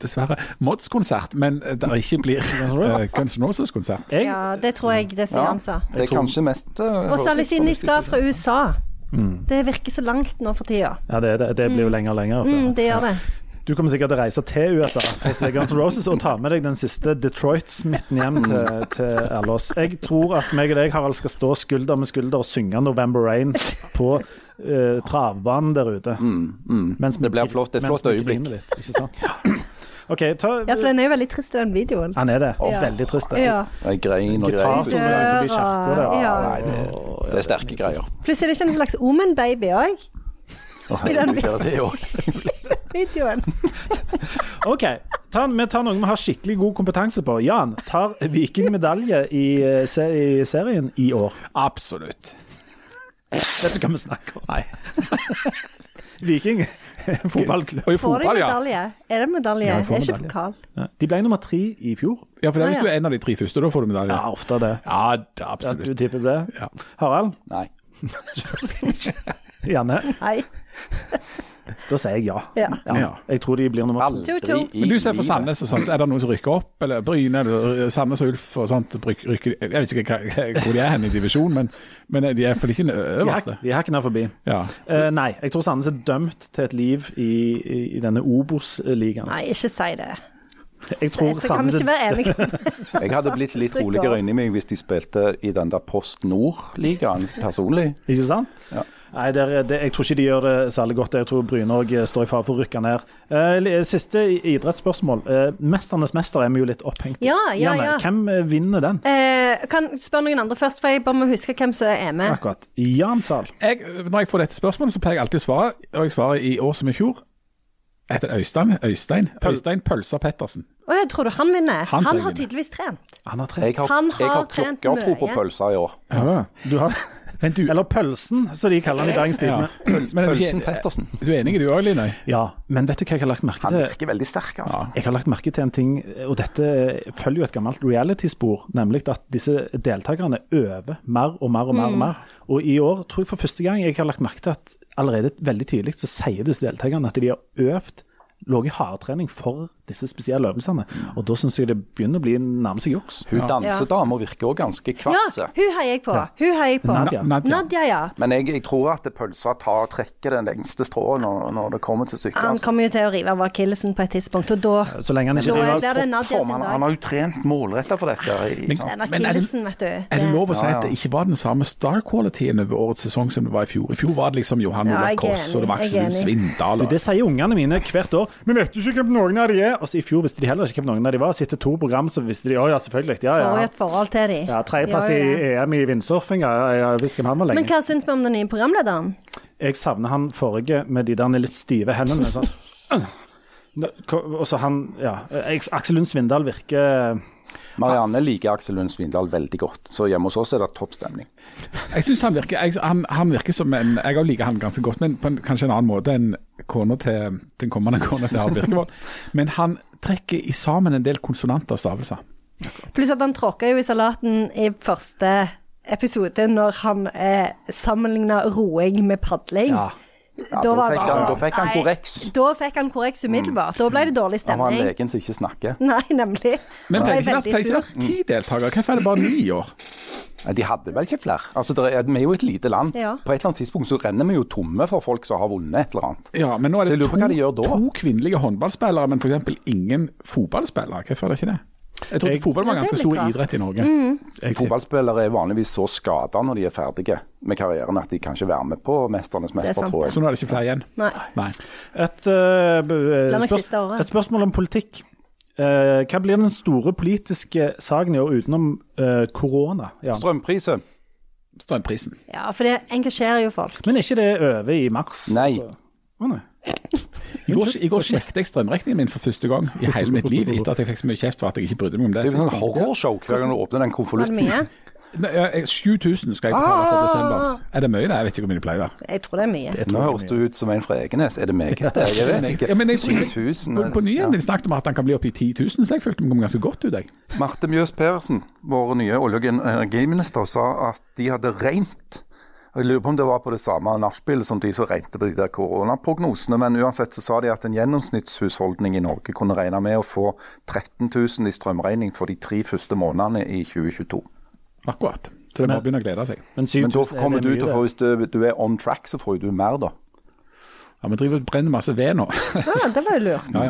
[SPEAKER 3] dessverre Mods-konsert, men det ikke blir eh, Guns N' Roses-konsert.
[SPEAKER 4] Jeg,
[SPEAKER 1] Ja, det tror jeg det sier
[SPEAKER 2] Ja,
[SPEAKER 1] han sa.
[SPEAKER 2] det er kanskje mest eh,
[SPEAKER 1] Og særlig siden de skal fra USA. Det virker så langt nå for tida.
[SPEAKER 4] Ja, det, er det, det blir jo lenger og lenger. vet du.
[SPEAKER 1] Mm, det gjør det.
[SPEAKER 4] Du kommer sikkert til å reise til USA reise til Guns N' Roses, og ta med deg den siste Detroit-smitten hjem til,
[SPEAKER 2] Mm.
[SPEAKER 4] til alle oss. Jeg tror at meg og deg, Harald, skal stå skulder med skulder og synge 'November Rain' på eh, travbanen der ute. Mens vi
[SPEAKER 2] Mm. Det blir
[SPEAKER 4] gri-
[SPEAKER 2] flott- et
[SPEAKER 4] mm. mens
[SPEAKER 2] flott
[SPEAKER 4] vi
[SPEAKER 2] øyeblikk.
[SPEAKER 4] griner Litt, ikke sant? OK, ta
[SPEAKER 1] Ja, for den er jo veldig trist, den videoen.
[SPEAKER 4] Han er det.
[SPEAKER 1] Ja.
[SPEAKER 4] Veldig trist. det.
[SPEAKER 1] Ja.
[SPEAKER 2] Jeg grein og
[SPEAKER 4] Gitar
[SPEAKER 2] grein.
[SPEAKER 4] som går forbi kirka der.
[SPEAKER 1] Ja.
[SPEAKER 2] Nei, det, det er sterke greier.
[SPEAKER 1] Plutselig er det ikke en slags Omen-baby òg,
[SPEAKER 2] Å, herregud, ja, det er jo-
[SPEAKER 1] videoen.
[SPEAKER 4] OK. Ta, vi tar noen vi har skikkelig god kompetanse på. Jan tar Viking medalje i, eh, se, i serien i år.
[SPEAKER 3] Absolutt.
[SPEAKER 4] Dette kan vi snakke om. Nei. Viking eh, fotballklubb.
[SPEAKER 3] Og i
[SPEAKER 1] Får de
[SPEAKER 3] fotball, ja.
[SPEAKER 1] medalje? Er det medalje?
[SPEAKER 3] Ja,
[SPEAKER 1] Er
[SPEAKER 3] jeg får
[SPEAKER 1] ikke
[SPEAKER 3] medalje.
[SPEAKER 1] pokal?
[SPEAKER 4] De ble nummer tre i fjor.
[SPEAKER 3] ja. For det er hvis
[SPEAKER 1] Ah,
[SPEAKER 3] du
[SPEAKER 1] ja.
[SPEAKER 3] er en av de tre første, da får du medalje.
[SPEAKER 4] Ja, ofte det.
[SPEAKER 3] Ja, det er
[SPEAKER 4] At du
[SPEAKER 3] absolutt.
[SPEAKER 4] tipper på det.
[SPEAKER 3] Ja.
[SPEAKER 4] Harald,
[SPEAKER 2] Nei.
[SPEAKER 4] Janne,
[SPEAKER 1] Nei.
[SPEAKER 4] da sier jeg ja.
[SPEAKER 1] Ja.
[SPEAKER 3] Ja.
[SPEAKER 4] Jeg tror de blir nummer to.
[SPEAKER 1] To,
[SPEAKER 5] Aldri
[SPEAKER 1] to.
[SPEAKER 5] i
[SPEAKER 3] Men du ser for
[SPEAKER 5] livet.
[SPEAKER 3] Sandnes og sånt, er det noen som rykker opp? Eller Bryne, eller eh, Sandnes og Ulf og sånt? Rykker, rykker, jeg vet ikke hva- hvor de er hen i divisjon, men, men eh, de er iallfall ikke den
[SPEAKER 4] De
[SPEAKER 3] øverste.
[SPEAKER 4] hak- de hakker ned forbi.
[SPEAKER 3] Ja.
[SPEAKER 4] Eh, nei, jeg tror Sandnes er dømt til et liv i, i, i denne Obos-ligaen.
[SPEAKER 1] Nei, ikke si det.
[SPEAKER 4] Jeg
[SPEAKER 1] Så,
[SPEAKER 4] tror
[SPEAKER 1] så kan vi
[SPEAKER 4] Sandnes
[SPEAKER 1] ikke være
[SPEAKER 4] er
[SPEAKER 1] enige.
[SPEAKER 2] Jeg hadde blitt litt
[SPEAKER 1] Stryk
[SPEAKER 2] roligere
[SPEAKER 1] over.
[SPEAKER 2] inni meg hvis de spilte i den der Post Nord-ligaen personlig.
[SPEAKER 4] Ikke sant?
[SPEAKER 2] Ja.
[SPEAKER 4] Nei, det er, det, Jeg tror ikke de gjør det særlig godt. Jeg tror Bryne òg står i fare for å rykke ned. Eh, li- siste i- idrettsspørsmål. Eh, 'Mesternes mester' er vi jo litt opphengt i.
[SPEAKER 1] Ja, ja,
[SPEAKER 4] Janne,
[SPEAKER 1] ja.
[SPEAKER 4] Hvem eh, vinner den?
[SPEAKER 1] Eh, kan spørre noen andre først, for jeg bare må huske hvem som er med.
[SPEAKER 4] Akkurat. Jan Sahl.
[SPEAKER 3] Jeg, når jeg får dette spørsmålet, så pleier jeg alltid å svare, og jeg svarer i år som i fjor. Etter Øystein, Øystein, Øystein Pølsa Pettersen.
[SPEAKER 1] Å, jeg tror du han vinner? Han,
[SPEAKER 3] Han tror jeg
[SPEAKER 1] har
[SPEAKER 3] vinner.
[SPEAKER 1] tydeligvis trent.
[SPEAKER 4] Han har tre.
[SPEAKER 2] Jeg har,
[SPEAKER 1] Han har
[SPEAKER 2] jeg har
[SPEAKER 1] trent
[SPEAKER 2] klokkertro på
[SPEAKER 1] mye.
[SPEAKER 2] pølser i år.
[SPEAKER 4] Du har,
[SPEAKER 3] Men du,
[SPEAKER 4] eller Pølsen, som de kaller den i dagens
[SPEAKER 3] ja.
[SPEAKER 4] Tidende.
[SPEAKER 3] men er du,
[SPEAKER 2] Pølsen
[SPEAKER 3] ikke-
[SPEAKER 2] Pettersen.
[SPEAKER 3] du er enig i du òg, Linøy?
[SPEAKER 4] Ja. men vet du hva jeg har lagt merke
[SPEAKER 2] Han
[SPEAKER 4] til?
[SPEAKER 2] virker veldig sterk, altså.
[SPEAKER 4] Jeg har lagt merke til en ting, og dette følger jo et gammelt reality-spor, nemlig at disse deltakerne øver mer og mer og
[SPEAKER 1] Mm.
[SPEAKER 4] mer. Og mer. Og i år tror jeg for første gang jeg har lagt merke til at allerede veldig tidlig så sier disse deltakerne at de har øvd ligget i hardtrening for disse spesielle øvelsene. Og da syns jeg det begynner å bli nærme seg juks.
[SPEAKER 2] Hun dansedama virker òg ganske
[SPEAKER 1] Ja,
[SPEAKER 2] kvass.
[SPEAKER 1] hun heier jeg på. Hun heier jeg på.
[SPEAKER 4] Nadia.
[SPEAKER 3] Nadia.
[SPEAKER 1] Nadia, ja.
[SPEAKER 2] Men jeg, jeg tror at pølsa tar trekker den lengste strået når, når det kommer til stykket.
[SPEAKER 1] Han
[SPEAKER 2] altså.
[SPEAKER 1] kommer jo til å rive av akillesen på et tidspunkt, og da
[SPEAKER 4] Så lenge han
[SPEAKER 1] da
[SPEAKER 4] ikke driver
[SPEAKER 1] blir det Nadia sin
[SPEAKER 2] Form, han,
[SPEAKER 1] dag.
[SPEAKER 2] han har jo trent målretta for dette. I,
[SPEAKER 3] Men-
[SPEAKER 2] sant?
[SPEAKER 1] Den
[SPEAKER 3] Men er det-
[SPEAKER 1] akillesen, vet du.
[SPEAKER 3] Er det lov å si
[SPEAKER 2] Ja, ja.
[SPEAKER 3] at det ikke var den samme star-qualityen over årets sesong som det var i fjor? I fjor var det liksom Johan
[SPEAKER 1] Ja,
[SPEAKER 3] Olav
[SPEAKER 1] jeg er
[SPEAKER 3] Koss og det var
[SPEAKER 1] enig,
[SPEAKER 3] Aksel
[SPEAKER 1] jeg er
[SPEAKER 3] Lund
[SPEAKER 1] enig.
[SPEAKER 3] Svindal. og-
[SPEAKER 4] Det sier ungene mine hvert år. Vi vet jo ikke hvem noen av de er. Og så I fjor visste de heller ikke hvem noen av de var. Så etter to program så visste de Å ja, selvfølgelig. Ja,
[SPEAKER 1] Får jo
[SPEAKER 4] ja.
[SPEAKER 1] et forhold til dem.
[SPEAKER 4] Ja, Tredjeplass i EM i vindsurfing, ja, ja, ja, hvis hvem han var lenge.
[SPEAKER 1] Men hva syns vi om den nye programlederen?
[SPEAKER 4] Jeg savner han forrige med de der litt stive hendene. Sånn. Nå, ko- Og så han Ja. Jeg- Aksel Lund Svindal virker
[SPEAKER 2] Marianne liker Aksel Lund Svindal veldig godt, så hjemme hos oss er det topp stemning.
[SPEAKER 3] Jeg synes han virker, jeg, han, han virker som en Jeg også liker han ganske godt, men på en, kanskje en annen måte enn kona til den kommende kona til Harald Birkevold. Men han trekker i sammen en del konsonanter og stavelser.
[SPEAKER 1] Pluss at han tråkka jo i salaten i første episode, når han eh, sammenligna roing med padling.
[SPEAKER 4] Ja.
[SPEAKER 2] Ja, da,
[SPEAKER 1] Da var det
[SPEAKER 2] fikk han,
[SPEAKER 1] altså-
[SPEAKER 2] da fikk han
[SPEAKER 1] Nei,
[SPEAKER 2] korreks. Mm.
[SPEAKER 1] Da fikk han korreks umiddelbart. Da ble det dårlig
[SPEAKER 2] Han var
[SPEAKER 1] stemning.
[SPEAKER 2] en legen som ikke snakker.
[SPEAKER 1] Nei, nemlig.
[SPEAKER 3] Men
[SPEAKER 1] Han ble
[SPEAKER 3] pleier ikke vært-
[SPEAKER 1] veldig
[SPEAKER 3] pleier ikke
[SPEAKER 1] sur.
[SPEAKER 3] vært ti deltakere, hvorfor er det bare ni i år?
[SPEAKER 2] Nei, De hadde vel ikke flere. Altså, det er, vi er jo et lite land.
[SPEAKER 1] Ja.
[SPEAKER 2] På et eller annet tidspunkt så renner vi jo tomme for folk som har vunnet et eller annet.
[SPEAKER 3] Ja, men nå er
[SPEAKER 2] Så
[SPEAKER 3] det
[SPEAKER 2] jeg lurer på hva de gjør
[SPEAKER 3] to,
[SPEAKER 2] da.
[SPEAKER 3] to kvinnelige håndballspillere, men f.eks. ingen fotballspillere. Hvorfor er det ikke det? Jeg trodde
[SPEAKER 4] Jeg-
[SPEAKER 3] fotball var
[SPEAKER 1] Ja, det er
[SPEAKER 3] ganske
[SPEAKER 1] litt
[SPEAKER 3] stor
[SPEAKER 1] rart. Mm.
[SPEAKER 3] idrett i Norge.
[SPEAKER 4] jeg,
[SPEAKER 2] Fotballspillere er vanligvis så skada når de er ferdige med karrieren at de kan ikke være med på 'Mesternes mester',
[SPEAKER 1] sant.
[SPEAKER 2] tror jeg.
[SPEAKER 3] Så nå er det ikke flere igjen.
[SPEAKER 1] Nei.
[SPEAKER 3] Nei.
[SPEAKER 4] Et, eh, b- eh,
[SPEAKER 1] La meg
[SPEAKER 4] spørs-
[SPEAKER 1] siste året.
[SPEAKER 4] et spørsmål om politikk. Eh, hva blir den store politiske saken i år utenom eh, korona? Ja.
[SPEAKER 2] Strømpriser?
[SPEAKER 3] Strømprisen.
[SPEAKER 1] Ja, for det engasjerer jo folk.
[SPEAKER 4] Men er ikke det over i mars?
[SPEAKER 2] Nei.
[SPEAKER 4] altså? Å, nei.
[SPEAKER 3] I går, i går sjekket jeg strømregningen min for første gang i hele mitt liv, etter at jeg fikk så mye kjeft for at jeg ikke brydde meg om det.
[SPEAKER 2] Det er jo sånn horrorshow hver gang du åpner
[SPEAKER 1] Var
[SPEAKER 2] den
[SPEAKER 1] det
[SPEAKER 2] konvolutten.
[SPEAKER 1] mye?
[SPEAKER 3] Nei, jeg- jeg- 7000 skal jeg betale for desember. Er det mye? det? Jeg vet ikke hvor mye det pleier å være.
[SPEAKER 1] Jeg tror det er mye.
[SPEAKER 2] Nå høres du ut som en fra Egenes. Er det meg? det er? Jeg vet ikke.
[SPEAKER 3] Ja, men jeg-
[SPEAKER 2] 7000?
[SPEAKER 3] På, på nyheten din snakket om at han kan bli oppe i 10 000, så jeg følte meg ganske godt ut, jeg.
[SPEAKER 2] Marte Mjøs Persen, vår nye olje- og energiminister, sa at de hadde regnet. Og Jeg lurer på om det var på det samme nachspielet som de som regnet på de der koronaprognosene. Men uansett så sa de at en gjennomsnittshusholdning i Norge kunne regne med å få 13 000 i strømregning for de tre første månedene i 2022.
[SPEAKER 3] Akkurat. Så det er bare å begynne å glede seg.
[SPEAKER 4] Men
[SPEAKER 2] Men da
[SPEAKER 4] 7000 er
[SPEAKER 2] kommer
[SPEAKER 4] det
[SPEAKER 2] du
[SPEAKER 4] mye,
[SPEAKER 2] til å
[SPEAKER 4] det.
[SPEAKER 2] få, hvis du, du er on track, så får jo du mer, da.
[SPEAKER 3] Ja, Vi driver og brenner masse ved nå.
[SPEAKER 1] Ja, det var jo lurt.
[SPEAKER 3] Ja,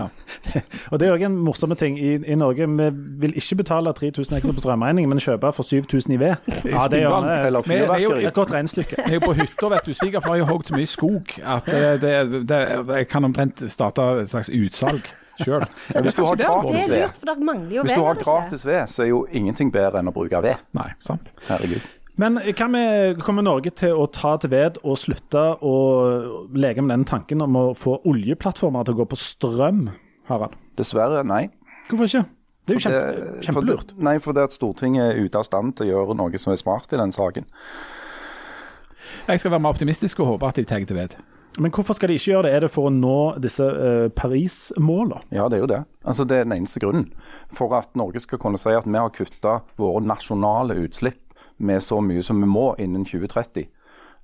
[SPEAKER 3] ja.
[SPEAKER 4] Og det er òg en morsom ting. I, I Norge vi vil ikke betale 3000 ekstra på strømregning, men kjøpe for 7000 i ved. Ja, det gjør vi.
[SPEAKER 2] Eller
[SPEAKER 3] vi- vi er jo-
[SPEAKER 2] fyrverkeri.
[SPEAKER 4] Et godt regnestykke.
[SPEAKER 3] Jeg er jo på hytta, vet du. Svigerfar har jo hogd så mye skog at det, det, det, jeg kan omtrent starte et slags utsalg sjøl.
[SPEAKER 2] Ja, hvis du har
[SPEAKER 1] Det
[SPEAKER 2] gratis
[SPEAKER 1] er
[SPEAKER 2] ved,
[SPEAKER 1] lurt, for det mangler jo
[SPEAKER 2] hvis du har
[SPEAKER 1] ved, gjør det ikke det?
[SPEAKER 2] gratis ved, så er jo ingenting bedre enn å bruke ved.
[SPEAKER 3] Nei, sant.
[SPEAKER 2] Herregud.
[SPEAKER 4] Men hva med, kommer Norge til å ta til ved og slutte å leke med den tanken om å få oljeplattformer til å gå på strøm, Harald?
[SPEAKER 2] Dessverre, nei.
[SPEAKER 4] Hvorfor ikke? Det er jo kjempe,
[SPEAKER 2] Det-
[SPEAKER 4] kjempelurt.
[SPEAKER 2] For, nei, for det at Stortinget er ute av stand til å gjøre noe som er smart i den saken.
[SPEAKER 3] Jeg skal være mer optimistisk og håpe at de tar til ved.
[SPEAKER 4] Men hvorfor skal de ikke gjøre det? Er det for å nå disse eh, Paris-målene?
[SPEAKER 2] Ja, det er jo det. Altså, Det er den eneste grunnen. For at Norge skal kunne si at vi har kutta våre nasjonale utslipp med så mye som vi må innen 2030.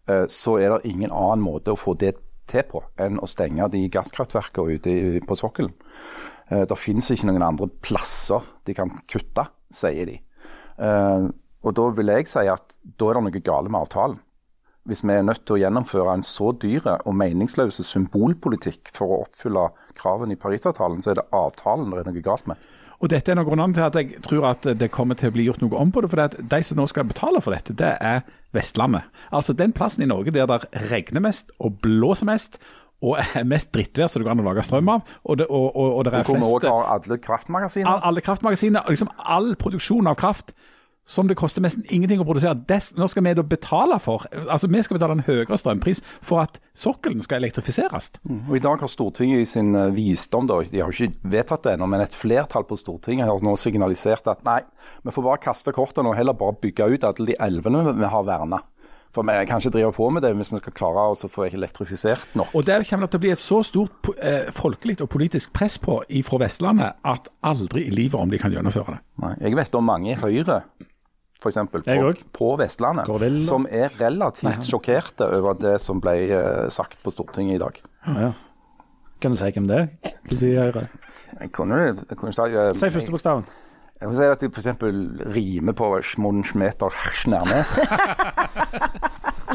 [SPEAKER 2] eh, så er det ingen annen måte å få det til på enn å stenge de gasskraftverkene ute i- på sokkelen. Eh, Det finnes ikke noen andre plasser de kan kutte, sier de. Eh, Og da vil jeg si at da er det noe gale med avtalen. Hvis vi er nødt til å gjennomføre en så dyre og meningsløse symbolpolitikk for å oppfylle kravene i Parisavtalen, så er det avtalen det er noe galt med.
[SPEAKER 3] Og dette er en av grunnene til at jeg tror at det kommer til å bli gjort noe om på det. For det at de som nå skal betale for dette, det er Vestlandet. Altså den plassen i Norge der det regner mest og blåser mest. Og er mest drittvær som det går an å lage strøm av. Og det, og, og, og det er
[SPEAKER 2] Hvor vi òg
[SPEAKER 3] flest
[SPEAKER 2] har alle kraftmagasiner.
[SPEAKER 3] all, Alle kraftmagasiner, og liksom all produksjon av kraft som det koster nesten ingenting å produsere. Des, nå skal vi da betale for Altså vi skal betale en høyere strømpris for at sokkelen skal elektrifiseres.
[SPEAKER 2] Og I dag har Stortinget i sin eh, visdom, da, de har jo ikke vedtatt det ennå, men et flertall på Stortinget har nå signalisert at nei, vi får bare kaste kortene og heller bare bygge ut alle de elvene vi- vi har verna. For vi kan ikke drive på med det hvis vi skal klare å få elektrifisert nok.
[SPEAKER 3] Og der kommer det til å bli et så stort po- eh, folkelig og politisk press på fra Vestlandet at aldri i livet om de kan gjennomføre det.
[SPEAKER 2] Nei. Jeg vet om mange i Høyre, f.eks.
[SPEAKER 4] Jeg
[SPEAKER 2] På,
[SPEAKER 4] òg.
[SPEAKER 2] på Vestlandet,
[SPEAKER 4] Gorilla.
[SPEAKER 2] som er relativt sjokkerte over det som ble eh, sagt på Stortinget i dag.
[SPEAKER 4] Ja. Kan du si hvem det er? Hva sier Høyre?
[SPEAKER 2] Jeg kunne, jeg kunne si, eh,
[SPEAKER 4] Si første bokstaven.
[SPEAKER 2] Jeg vil si at de for eksempel rimer på Schmonschmeter Snernes.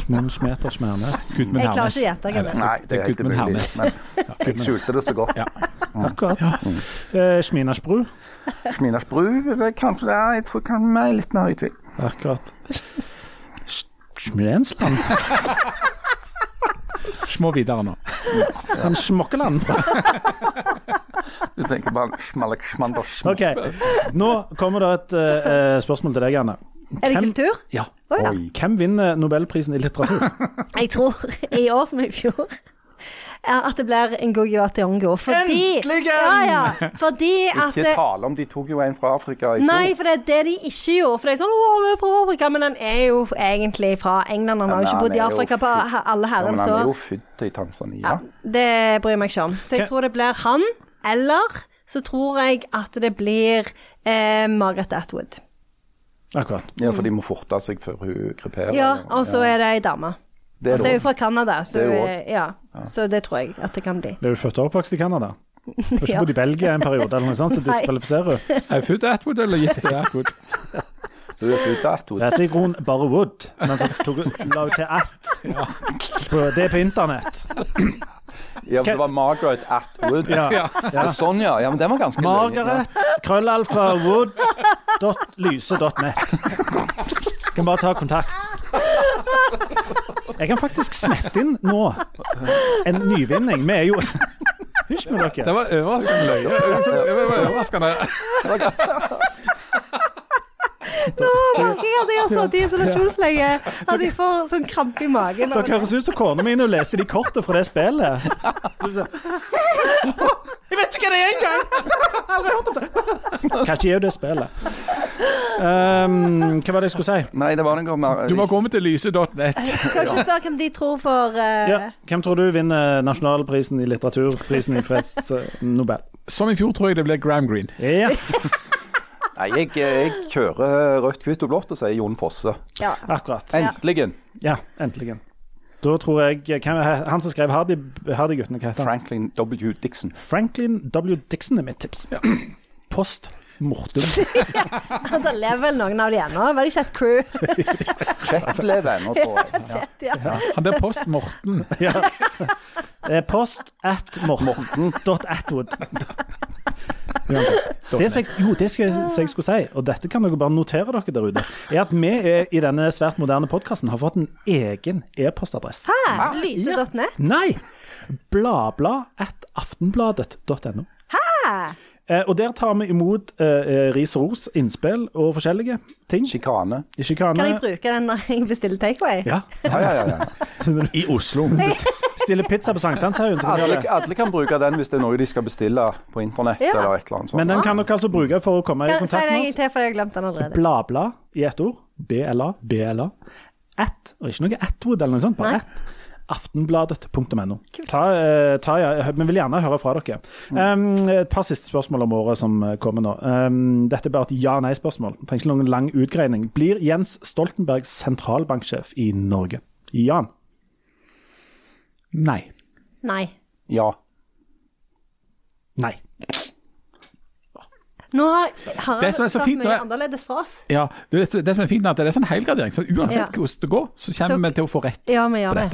[SPEAKER 4] Munchmeter Smernes.
[SPEAKER 3] Gudmund
[SPEAKER 1] Jeg klarer
[SPEAKER 3] Hernes.
[SPEAKER 1] ikke å gjette hvem det er.
[SPEAKER 2] Nei, det er helt
[SPEAKER 3] Gudmund
[SPEAKER 2] umulig.
[SPEAKER 3] Hernes.
[SPEAKER 2] Men jeg skjulte det så godt.
[SPEAKER 3] Ja.
[SPEAKER 4] Akkurat. Eh, Sminasbru.
[SPEAKER 2] Sminas bru, det er kanskje ja, Jeg tror kanskje vi er litt mer i tvil.
[SPEAKER 4] Akkurat. S- Smilensland?
[SPEAKER 3] Små videre nå.
[SPEAKER 4] Kan Smokkeland?
[SPEAKER 2] Du tenker bare Schmalek Schmander Schmalek.
[SPEAKER 4] OK. Nå kommer det et eh, spørsmål til deg, Anne.
[SPEAKER 1] Er det
[SPEAKER 4] Hvem-
[SPEAKER 1] kultur?
[SPEAKER 4] Ja.
[SPEAKER 1] Å ja.
[SPEAKER 4] Hvem vinner Nobelprisen i litteratur?
[SPEAKER 1] Jeg tror i år som i fjor er at det blir Ngoyo Ationgo. Fordi,
[SPEAKER 4] Endelig!
[SPEAKER 1] Ja, ja, fordi at eh,
[SPEAKER 2] Ikke tale om de tok jo en fra Afrika i
[SPEAKER 1] Nei,
[SPEAKER 2] fjor.
[SPEAKER 1] for det er det de ikke gjorde. For det er sånn, å, han er fra Afrika, men han er jo egentlig fra England. Han har jo
[SPEAKER 2] Men
[SPEAKER 1] ikke
[SPEAKER 2] han
[SPEAKER 1] bodd i
[SPEAKER 2] er jo
[SPEAKER 1] Afrika på
[SPEAKER 2] født-
[SPEAKER 1] he- alle
[SPEAKER 2] Ja, men
[SPEAKER 1] herrens
[SPEAKER 2] han er
[SPEAKER 1] år.
[SPEAKER 2] jo født i Tanzania.
[SPEAKER 1] Ja, det bryr jeg meg ikke om. Så jeg
[SPEAKER 4] Hva-
[SPEAKER 1] tror det blir han, eller så tror jeg at det blir eh, Margaret Atwood.
[SPEAKER 4] Akkurat.
[SPEAKER 2] Ja, for de må forte seg før hun kryperer.
[SPEAKER 1] Ja, og så er det ei dame. Og
[SPEAKER 2] Det er
[SPEAKER 1] så er hun
[SPEAKER 2] lov.
[SPEAKER 1] fra Canada, så,
[SPEAKER 2] Det er
[SPEAKER 1] hun
[SPEAKER 2] hun
[SPEAKER 1] er- ja. så det tror jeg at det kan bli.
[SPEAKER 4] Du er jo født og oppvokst i Canada. Du har ikke
[SPEAKER 1] Ja.
[SPEAKER 4] bodd i Belgia en periode, eller noe sånt, så
[SPEAKER 1] Nei.
[SPEAKER 4] diskvalifiserer du.
[SPEAKER 3] Er Food Atwood eller Gitte Atwood?
[SPEAKER 2] Hun er født i
[SPEAKER 4] Det
[SPEAKER 2] Atwood.
[SPEAKER 4] heter i grunnen bare Wood, men så tok, la hun til at. På- Det er på internett.
[SPEAKER 2] Ja, for det var Margaret Atwood.
[SPEAKER 4] Ja.
[SPEAKER 2] Ja. Sånn, ja. ja. Men den var ganske lenge.
[SPEAKER 4] Margaret krøllalfa wood dot lyse dot net. Kan bare ta kontakt. Jeg kan faktisk smette inn nå en nyvinning. Vi er jo Hysj med dere.
[SPEAKER 3] Det var overraskende løye. Det var overraskende.
[SPEAKER 1] Å, herregud, jeg har sittet i isolasjonslenge at jeg får sånn krampe i magen.
[SPEAKER 4] Dere høres ut som kona mi når hun leste de kortene fra det spillet. Så- Jeg vet ikke hva det er engang! Aldri hørt om det. Kanskje jeg er jo det spillet. Um, hva var det jeg skulle si?
[SPEAKER 2] Nei, det var noe mer
[SPEAKER 3] Du må komme til lyse.net.
[SPEAKER 1] Skal ikke spørre hvem de tror for eh,
[SPEAKER 4] Ja. Hvem tror du vinner nasjonalprisen i litteratur, prisen i freds eh, Nobel?
[SPEAKER 3] Som i fjor tror jeg det ble Gram Green.
[SPEAKER 4] Ja.
[SPEAKER 2] Nei, jeg, jeg kjører eh, rødt, hvitt og blått og sier Jon Fosse.
[SPEAKER 1] ja.
[SPEAKER 4] Akkurat.
[SPEAKER 2] Endelig.
[SPEAKER 4] Ja, endelig. Da tror jeg hvem er, Han som skrev Hardy- Hardy-guttene, hva heter han?
[SPEAKER 2] Franklin W. Dixon.
[SPEAKER 4] Franklin W. Dixon er mitt tips. Post mortum.
[SPEAKER 1] Det lever vel noen av de ennå. Var det ikke et crew?
[SPEAKER 2] Chet lever ennå, tror jeg.
[SPEAKER 1] Ja.
[SPEAKER 3] Han der Post Morten.
[SPEAKER 4] Ja. Det er Post at morten. Dot Atwood. Det som jeg, jo, det skal jeg, som jeg skulle si, og dette kan dere bare notere dere der ute, er at vi er, i denne svært moderne podkasten har fått en egen e-postadresse.
[SPEAKER 1] Hæ? Lyse.net?
[SPEAKER 4] Nei! Blabla at aftenbladet.no.
[SPEAKER 1] Hæ?
[SPEAKER 4] Eh, og der tar vi imot eh, eh, ris og ros, innspill og forskjellige ting.
[SPEAKER 2] Sjikane.
[SPEAKER 4] Sjikane.
[SPEAKER 1] Kan jeg bruke den når jeg bestiller takeaway?
[SPEAKER 4] Ja.
[SPEAKER 2] Ja, ja, ja. ja.
[SPEAKER 3] I Oslo.
[SPEAKER 4] Stille pizza på sankthanshaugen, så kan dere
[SPEAKER 2] Alle,
[SPEAKER 4] gjøre det.
[SPEAKER 2] alle kan bruke den hvis det er noe de skal bestille på internett
[SPEAKER 1] Ja.
[SPEAKER 2] eller et eller annet sånt.
[SPEAKER 4] Men den kan dere altså bruke for å komme i
[SPEAKER 1] Kan, si det
[SPEAKER 4] kontakt
[SPEAKER 1] en
[SPEAKER 4] med
[SPEAKER 1] gang
[SPEAKER 4] oss.
[SPEAKER 1] til, for jeg har glemt den allerede.
[SPEAKER 4] Blabla i ett ord. BLA. BLA. At, og ikke noe Atwood eller noe sånt,
[SPEAKER 1] Nei.
[SPEAKER 4] bare at. Aftenbladet.no. Ta, eh, ta, ja, vi vil gjerne høre fra dere. Um, et par siste spørsmål om året som eh, kommer nå. Um, dette er bare et ja-nei-spørsmål. Trenger ikke noen lang utgreining. Blir Jens Stoltenberg sentralbanksjef i Norge? Jan.
[SPEAKER 3] Nei.
[SPEAKER 1] Nei.
[SPEAKER 2] Ja.
[SPEAKER 4] Nei.
[SPEAKER 1] Nå har Harald
[SPEAKER 3] Det som er så
[SPEAKER 1] sagt
[SPEAKER 3] fint nå
[SPEAKER 1] mye
[SPEAKER 3] er-
[SPEAKER 1] annerledes fra oss.
[SPEAKER 3] Ja, det, det som er fint, er at det er sånn helgradering. Så uansett
[SPEAKER 1] Ja.
[SPEAKER 3] hvordan det går, så kommer
[SPEAKER 1] Så-
[SPEAKER 3] vi til å få rett
[SPEAKER 1] Ja, vi
[SPEAKER 3] på
[SPEAKER 1] gjør det.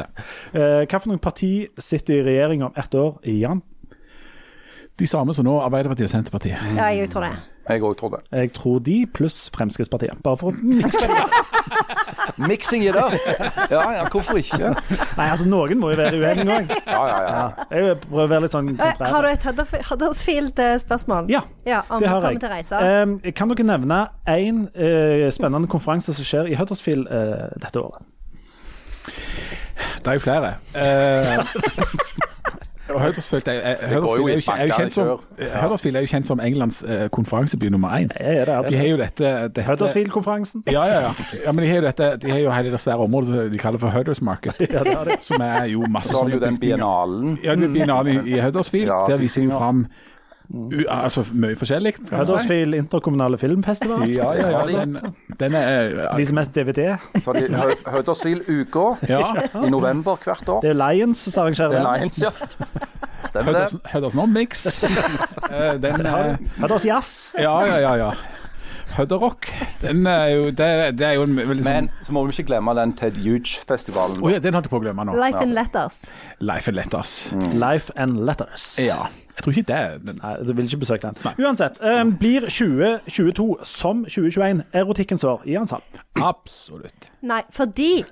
[SPEAKER 3] dette.
[SPEAKER 4] Eh, hva for noen parti sitter i regjering om ett år? Jan?
[SPEAKER 3] De samme som nå, Arbeiderpartiet og Senterpartiet.
[SPEAKER 1] Ja, jeg tror det.
[SPEAKER 3] Mm.
[SPEAKER 2] Jeg òg tror det.
[SPEAKER 4] Jeg tror de, pluss Fremskrittspartiet. Bare for å mikse
[SPEAKER 2] Mixing it up! Ja, ja, hvorfor ikke? Ja,
[SPEAKER 4] Nei, altså, noen må jo være uenige òg.
[SPEAKER 2] ja, ja.
[SPEAKER 4] Jeg prøver å være litt sånn
[SPEAKER 1] Eh, Har
[SPEAKER 4] kontrær.
[SPEAKER 1] du et eh, Hudderf- Huddersfield-spørsmål?
[SPEAKER 4] Ja,
[SPEAKER 1] ja om
[SPEAKER 4] det
[SPEAKER 1] det
[SPEAKER 4] har
[SPEAKER 1] kommer
[SPEAKER 4] jeg.
[SPEAKER 1] til reiser.
[SPEAKER 4] Eh, kan dere nevne én eh, spennende konferanse som skjer i Huddersfield eh, dette året?
[SPEAKER 3] Det er jo flere. Eh, og Huddersfield er, er, Huddersfield
[SPEAKER 2] i
[SPEAKER 3] er, jo kjent- er, jo
[SPEAKER 2] bankene
[SPEAKER 3] kjent som,
[SPEAKER 2] kjør.
[SPEAKER 3] eh, Huddersfield er jo kjent som Englands eh, konferanseby nummer én.
[SPEAKER 4] Jeg er det,
[SPEAKER 3] De har
[SPEAKER 4] altså.
[SPEAKER 3] jo dette, dette
[SPEAKER 4] Huddersfield-konferansen.
[SPEAKER 3] Ja, ja, ja. ja men de har jo dette De har jo hele det svære området som de kaller for Hudders Market. Som er jo masse
[SPEAKER 2] Så har du Sånn jo den
[SPEAKER 3] bygninger.
[SPEAKER 2] biennalen.
[SPEAKER 3] Ja, den biennalen i, i Huddersfield.
[SPEAKER 2] Ja. Mm.
[SPEAKER 3] Der viser de jo fram u, altså, mye forskjellig. kan man si.
[SPEAKER 4] Huddersfield interkommunale filmfestival.
[SPEAKER 3] Ja, ja, ja. Den, den er
[SPEAKER 4] Viser mest DVD.
[SPEAKER 2] Så har de Hø- Høydersil-uka
[SPEAKER 3] ja,
[SPEAKER 2] i november hvert år.
[SPEAKER 4] Det er Lions som arrangerer
[SPEAKER 2] Det er
[SPEAKER 4] den.
[SPEAKER 2] Lions, ja. Stemmer det.
[SPEAKER 3] Hudders- Hudders Nomics. Eh, Den er
[SPEAKER 4] Hudders Jazz.
[SPEAKER 3] Ja, ja, ja. ja. Hudderrock. Den er jo Det, det er jo en veldig sånn
[SPEAKER 2] Men så må vi ikke glemme den Ted Huge-festivalen.
[SPEAKER 3] Å ja, den holdt jeg på å glemme nå.
[SPEAKER 1] Life in Letters.
[SPEAKER 3] Life and Letters.
[SPEAKER 4] Life and Letters.
[SPEAKER 3] Ja. Jeg tror ikke det er den.
[SPEAKER 4] Nei, du vil ikke besøke den. Uansett, eh, blir 2022 som 2021 erotikkens år i Ansal?
[SPEAKER 3] Absolutt.
[SPEAKER 1] Nei, fordi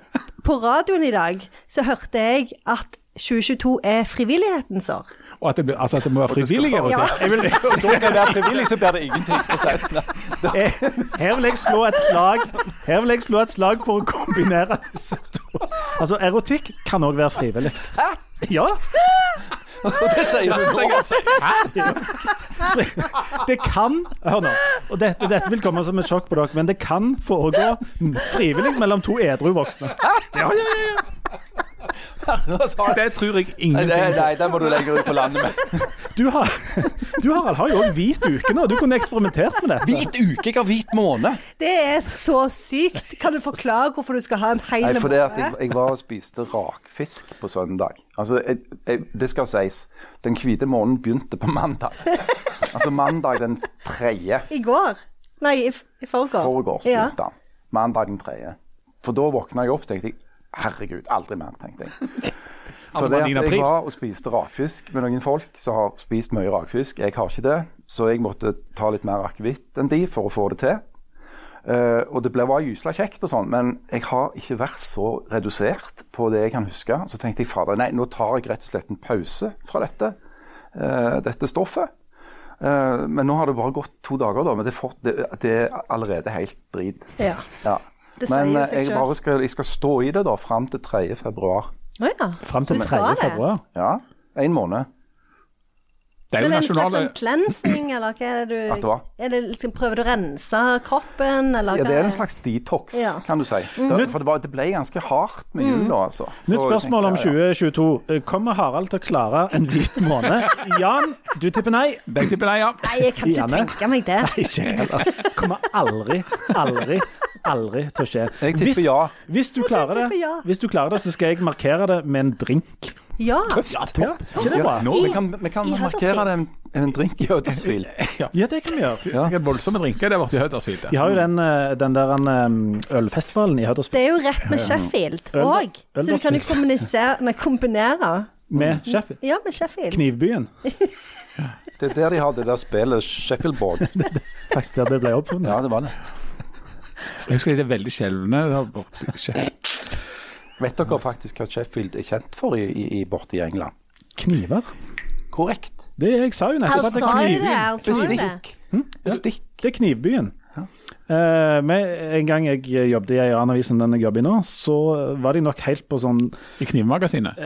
[SPEAKER 1] på radioen i dag så hørte jeg at 2022 er frivillighetens år.
[SPEAKER 3] Og at det, blir- altså, at det må være frivillige.
[SPEAKER 1] Ja.
[SPEAKER 3] erotikk.
[SPEAKER 4] Jeg vil,
[SPEAKER 2] Så kan det være frivillig, så blir det ingenting. prosent.
[SPEAKER 4] jeg, Eh, her, vil jeg slå et slag, her vil jeg slå et slag for å kombinere disse to. Altså, erotikk kan òg være frivillig. Ja,
[SPEAKER 2] Og det sier du nå.
[SPEAKER 4] det kan Hør nå. Og dette, dette vil komme som et sjokk på dere, men det kan foregå frivillig mellom to edru voksne. Ja, ja, ja, ja.
[SPEAKER 3] Det tror jeg
[SPEAKER 2] Nei,
[SPEAKER 3] ingen
[SPEAKER 2] det- nei, den må du lenger ut på landet med.
[SPEAKER 4] Du, har, du Harald, har jo òg hvit uke nå. Du kunne eksperimentert med dette.
[SPEAKER 2] Hvit uke, jeg har hvit måned.
[SPEAKER 1] Det er så sykt. Kan du forklare hvorfor du skal ha en hel
[SPEAKER 2] Nei, for det at jeg,
[SPEAKER 1] måned?
[SPEAKER 2] jeg var og spiste rakfisk på søndag. Altså, jeg, jeg, det skal sies, den hvite månen begynte på mandag. Altså mandag den tredje
[SPEAKER 1] I går? Nei, i, f- i forgår.
[SPEAKER 2] foregårs
[SPEAKER 1] Ja.
[SPEAKER 2] begynte den. Mandag den tredje. For da våkna jeg opp og tenkte jeg, herregud, aldri mer, tenkte jeg. For det
[SPEAKER 3] mandag i
[SPEAKER 2] at jeg
[SPEAKER 3] april.
[SPEAKER 2] var og spiste rakfisk med noen folk som har spist mye rakfisk. Jeg har ikke det, så jeg måtte ta litt mer akevitt enn de for å få det til. Eh, og det ble var gysla kjekt og sånn, men jeg har ikke vært så redusert på det jeg kan huske. Så tenkte jeg fader, nei, nå tar jeg rett og slett en pause fra dette, eh, dette stoffet. Eh, men nå har det bare gått to dager, da. Men det er, fort, det, det er allerede helt drit.
[SPEAKER 1] Ja.
[SPEAKER 2] Ja.
[SPEAKER 1] Det sier
[SPEAKER 2] Men
[SPEAKER 1] jo
[SPEAKER 2] eh,
[SPEAKER 1] seg
[SPEAKER 2] jeg,
[SPEAKER 1] selv.
[SPEAKER 2] bare skal, jeg skal stå i det da fram til 3. februar.
[SPEAKER 1] Å ja.
[SPEAKER 4] Fram til
[SPEAKER 1] Du skal
[SPEAKER 4] 3.
[SPEAKER 1] det.
[SPEAKER 4] februar.
[SPEAKER 2] Ja, en måned.
[SPEAKER 3] Det er jo
[SPEAKER 1] Men er det en slags
[SPEAKER 3] nasjonale
[SPEAKER 1] sånn cleansing, eller hva er det du
[SPEAKER 2] At det var?
[SPEAKER 1] er det liksom, Prøver du å rense kroppen, eller
[SPEAKER 2] Ja,
[SPEAKER 1] hva
[SPEAKER 2] det er en slags detox,
[SPEAKER 1] Ja. Mm.
[SPEAKER 2] kan du si. Det, for det, var, det ble ganske hardt med jula, altså. Så
[SPEAKER 4] Mm. Nytt
[SPEAKER 2] jeg
[SPEAKER 4] spørsmål om
[SPEAKER 2] tenkte, ja, ja.
[SPEAKER 4] 2022. Kommer Harald til å klare en hvit måned? Jan, du tipper nei.
[SPEAKER 3] Jeg tipper nei, ja.
[SPEAKER 1] Nei, jeg kan ikke
[SPEAKER 4] Janne?
[SPEAKER 1] tenke meg det.
[SPEAKER 4] Ikke jeg heller. Kommer aldri, aldri, aldri til å skje.
[SPEAKER 2] Jeg tipper
[SPEAKER 4] Hvis-
[SPEAKER 2] ja.
[SPEAKER 4] Hvis du klarer
[SPEAKER 1] tipper
[SPEAKER 4] det,
[SPEAKER 1] ja.
[SPEAKER 4] hvis du klarer det, så skal jeg markere det med en drink.
[SPEAKER 1] Ja.
[SPEAKER 4] Ja, topp. Ikke det
[SPEAKER 2] Ja,
[SPEAKER 4] bra?
[SPEAKER 2] nå, vi kan, vi kan
[SPEAKER 1] I
[SPEAKER 2] markere
[SPEAKER 1] Huddersfield.
[SPEAKER 2] det en, en drink i Huddersfield.
[SPEAKER 4] Ja, det kan vi gjøre.
[SPEAKER 3] Det er voldsomme drinker det har vært i Huddersfield.
[SPEAKER 4] De har jo den, eh, den der eh, ølfestivalen i Huddersfield
[SPEAKER 1] Det er jo rett med
[SPEAKER 4] Eh,
[SPEAKER 1] Sheffield òg, så du kan jo kommunisere Nei, kombinere.
[SPEAKER 4] med Sheffield.
[SPEAKER 1] Ja, med Sheffield.
[SPEAKER 4] Knivbyen,
[SPEAKER 2] Det er der de har det der spillet Sheffield Board.
[SPEAKER 4] faktisk der det ble oppfunnet.
[SPEAKER 2] Ja, det var det.
[SPEAKER 3] Jeg husker de er veldig skjelvende. Det har vært- skjel-
[SPEAKER 2] Vet dere faktisk hva Sheffield er kjent for i, i, i borte i England?
[SPEAKER 4] Kniver?
[SPEAKER 2] Korrekt.
[SPEAKER 4] Det jeg sa jo
[SPEAKER 1] Han
[SPEAKER 4] nettopp. at Altså, det er
[SPEAKER 1] sa jo det.
[SPEAKER 4] knivbyen.
[SPEAKER 1] Han sa jo altså, det.
[SPEAKER 2] Bestikk.
[SPEAKER 4] Hm?
[SPEAKER 2] Bestikk.
[SPEAKER 4] Det er Knivbyen. Eh, med, en gang jeg jobbet i ei annen avis enn den jeg jobber i nå, så var de nok helt på sånn
[SPEAKER 3] I Knivmagasinet.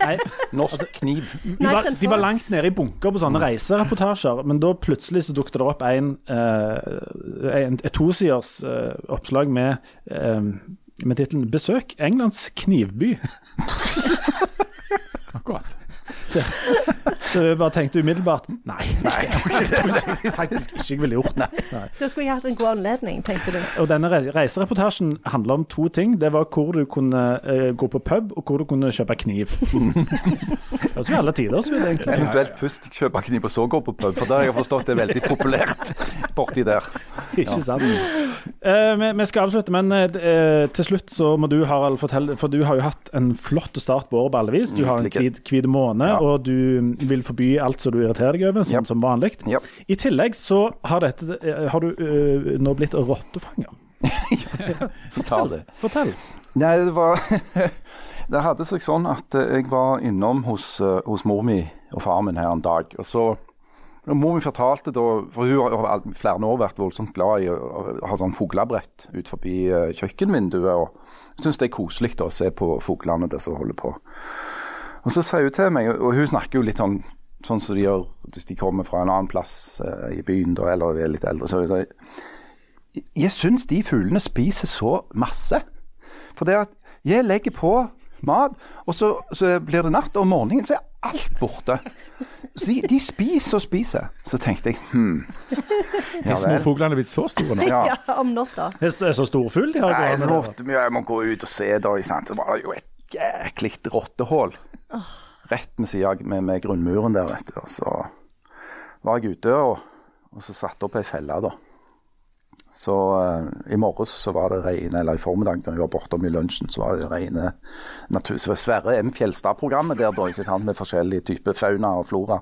[SPEAKER 4] Nei,
[SPEAKER 2] Norsk
[SPEAKER 4] Altså-
[SPEAKER 2] kniv.
[SPEAKER 4] de var,
[SPEAKER 1] Knives and
[SPEAKER 4] de var
[SPEAKER 1] forks.
[SPEAKER 4] langt nede i bunker på sånne reisereportasjer, men da plutselig så dukket det opp en, eh, en, et tosiders eh, oppslag med, eh, med tittelen 'Besøk Englands knivby'.
[SPEAKER 3] Akkurat.
[SPEAKER 4] Så jeg bare tenkte umiddelbart Nei, nei jeg tror ikke- jeg tror ikke- faktisk ikke jeg ville gjort det. Nei.
[SPEAKER 1] Da skulle jeg hatt en god anledning, tenkte du.
[SPEAKER 4] Og denne re- reisereportasjen handler om to ting. Det var hvor du kunne eh, gå på pub, og hvor du kunne kjøpe kniv. Det var til alle tider, så egentlig.
[SPEAKER 2] Eventuelt først kjøpe kniv og så gå på pub, for der har jeg forstått det er veldig populært borti der.
[SPEAKER 4] Ikke sant. Eh, vi, vi skal avslutte, men eh, d- eh, til slutt så må du, Harald, fortelle For du har jo hatt en flott start på året på alle vis. Du har en
[SPEAKER 2] Lykke.
[SPEAKER 4] hvit hvit måned,
[SPEAKER 2] Mm, Ja.
[SPEAKER 4] og du vil forby alt som du irriterer deg over, sånn
[SPEAKER 2] Yep.
[SPEAKER 4] som vanlig.
[SPEAKER 2] Yep.
[SPEAKER 4] I tillegg så har, dette, eh, har du eh, nå blitt rottefanger.
[SPEAKER 2] Fortell det.
[SPEAKER 4] Fortell.
[SPEAKER 2] Nei, det var Det hadde seg sånn at eh, jeg var innom hos, eh, hos mor mi og far min her en dag. Og så og Mor mi fortalte da For hun har over all- flere år vært voldsomt glad i å å ha sånn fuglebrett ut forbi eh, kjøkkenvinduet. Og syns det er koselig da, å se på fuglene der som holder på. Og så sier hun til meg, og hun snakker jo litt sånn sånn som de gjør hvis de kommer fra en annen plass eh, i byen da, eller er litt eldre. Så hun sier Jeg syns de fuglene spiser så masse. For det at jeg legger på mat, og så, så blir det natt, og om morgenen så er alt borte. Så de, de spiser og spiser. Så tenkte jeg hm. Ja
[SPEAKER 3] Små
[SPEAKER 2] vel.
[SPEAKER 3] fuglene er blitt så store nå.
[SPEAKER 2] Ja.
[SPEAKER 1] Ja, om natta.
[SPEAKER 4] Det er så- er så storfugl de har
[SPEAKER 2] Nei,
[SPEAKER 4] gående
[SPEAKER 2] så
[SPEAKER 4] der.
[SPEAKER 2] måtte vi jeg må gå ut og se, da. ikke Sant? Så var det jo et jæklig rottehull rett ved siden av med, med grunnmuren der, vet du. Og så var jeg ute og, og så satte opp ei felle, da. Så eh, i morges så var det rene, eller i formiddag da vi var bortom i lunsjen, så var det rene natur... Så var Sverre M. Fjelstad-programmet der, da, ikke sant, med forskjellige typer fauna og flora.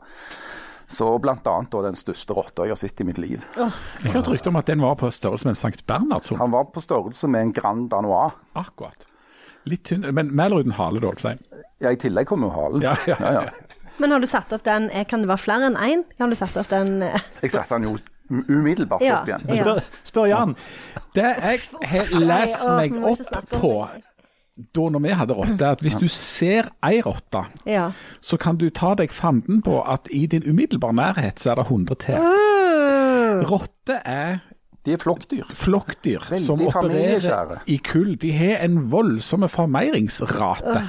[SPEAKER 2] Så blant annet da den største rotta jeg har sett i mitt liv.
[SPEAKER 3] Jeg hørte rykte om at den var på størrelse med en Sankt Bernhardshund.
[SPEAKER 2] Han var på størrelse med en Grand Danois.
[SPEAKER 3] Akkurat. Litt tynn, men med eller uten hale, da. holdt jeg på å si.
[SPEAKER 2] Ja, I tillegg kom jo halen.
[SPEAKER 3] Ja, ja.
[SPEAKER 1] Men har du satt opp den eh, Kan det være flere enn én? Har du satt opp den eh,
[SPEAKER 2] Jeg satte han jo umiddelbart
[SPEAKER 1] Ja.
[SPEAKER 2] opp igjen.
[SPEAKER 1] ja.
[SPEAKER 4] Spør, spør Jan.
[SPEAKER 3] Det jeg har lest
[SPEAKER 1] Nei, å,
[SPEAKER 3] meg
[SPEAKER 1] vi må ikke
[SPEAKER 3] opp
[SPEAKER 1] snakke om
[SPEAKER 3] på
[SPEAKER 1] det.
[SPEAKER 3] da når vi hadde rotte, er at hvis du ser ei rotte,
[SPEAKER 1] Ja.
[SPEAKER 3] så kan du ta deg fanden på at i din umiddelbare nærhet så er det 100 til. Rotte er
[SPEAKER 2] De er flokkdyr.
[SPEAKER 3] flokkdyr som
[SPEAKER 2] Veldig
[SPEAKER 3] opererer
[SPEAKER 2] familiekjære.
[SPEAKER 3] i kull. De har en voldsom formeringsrate.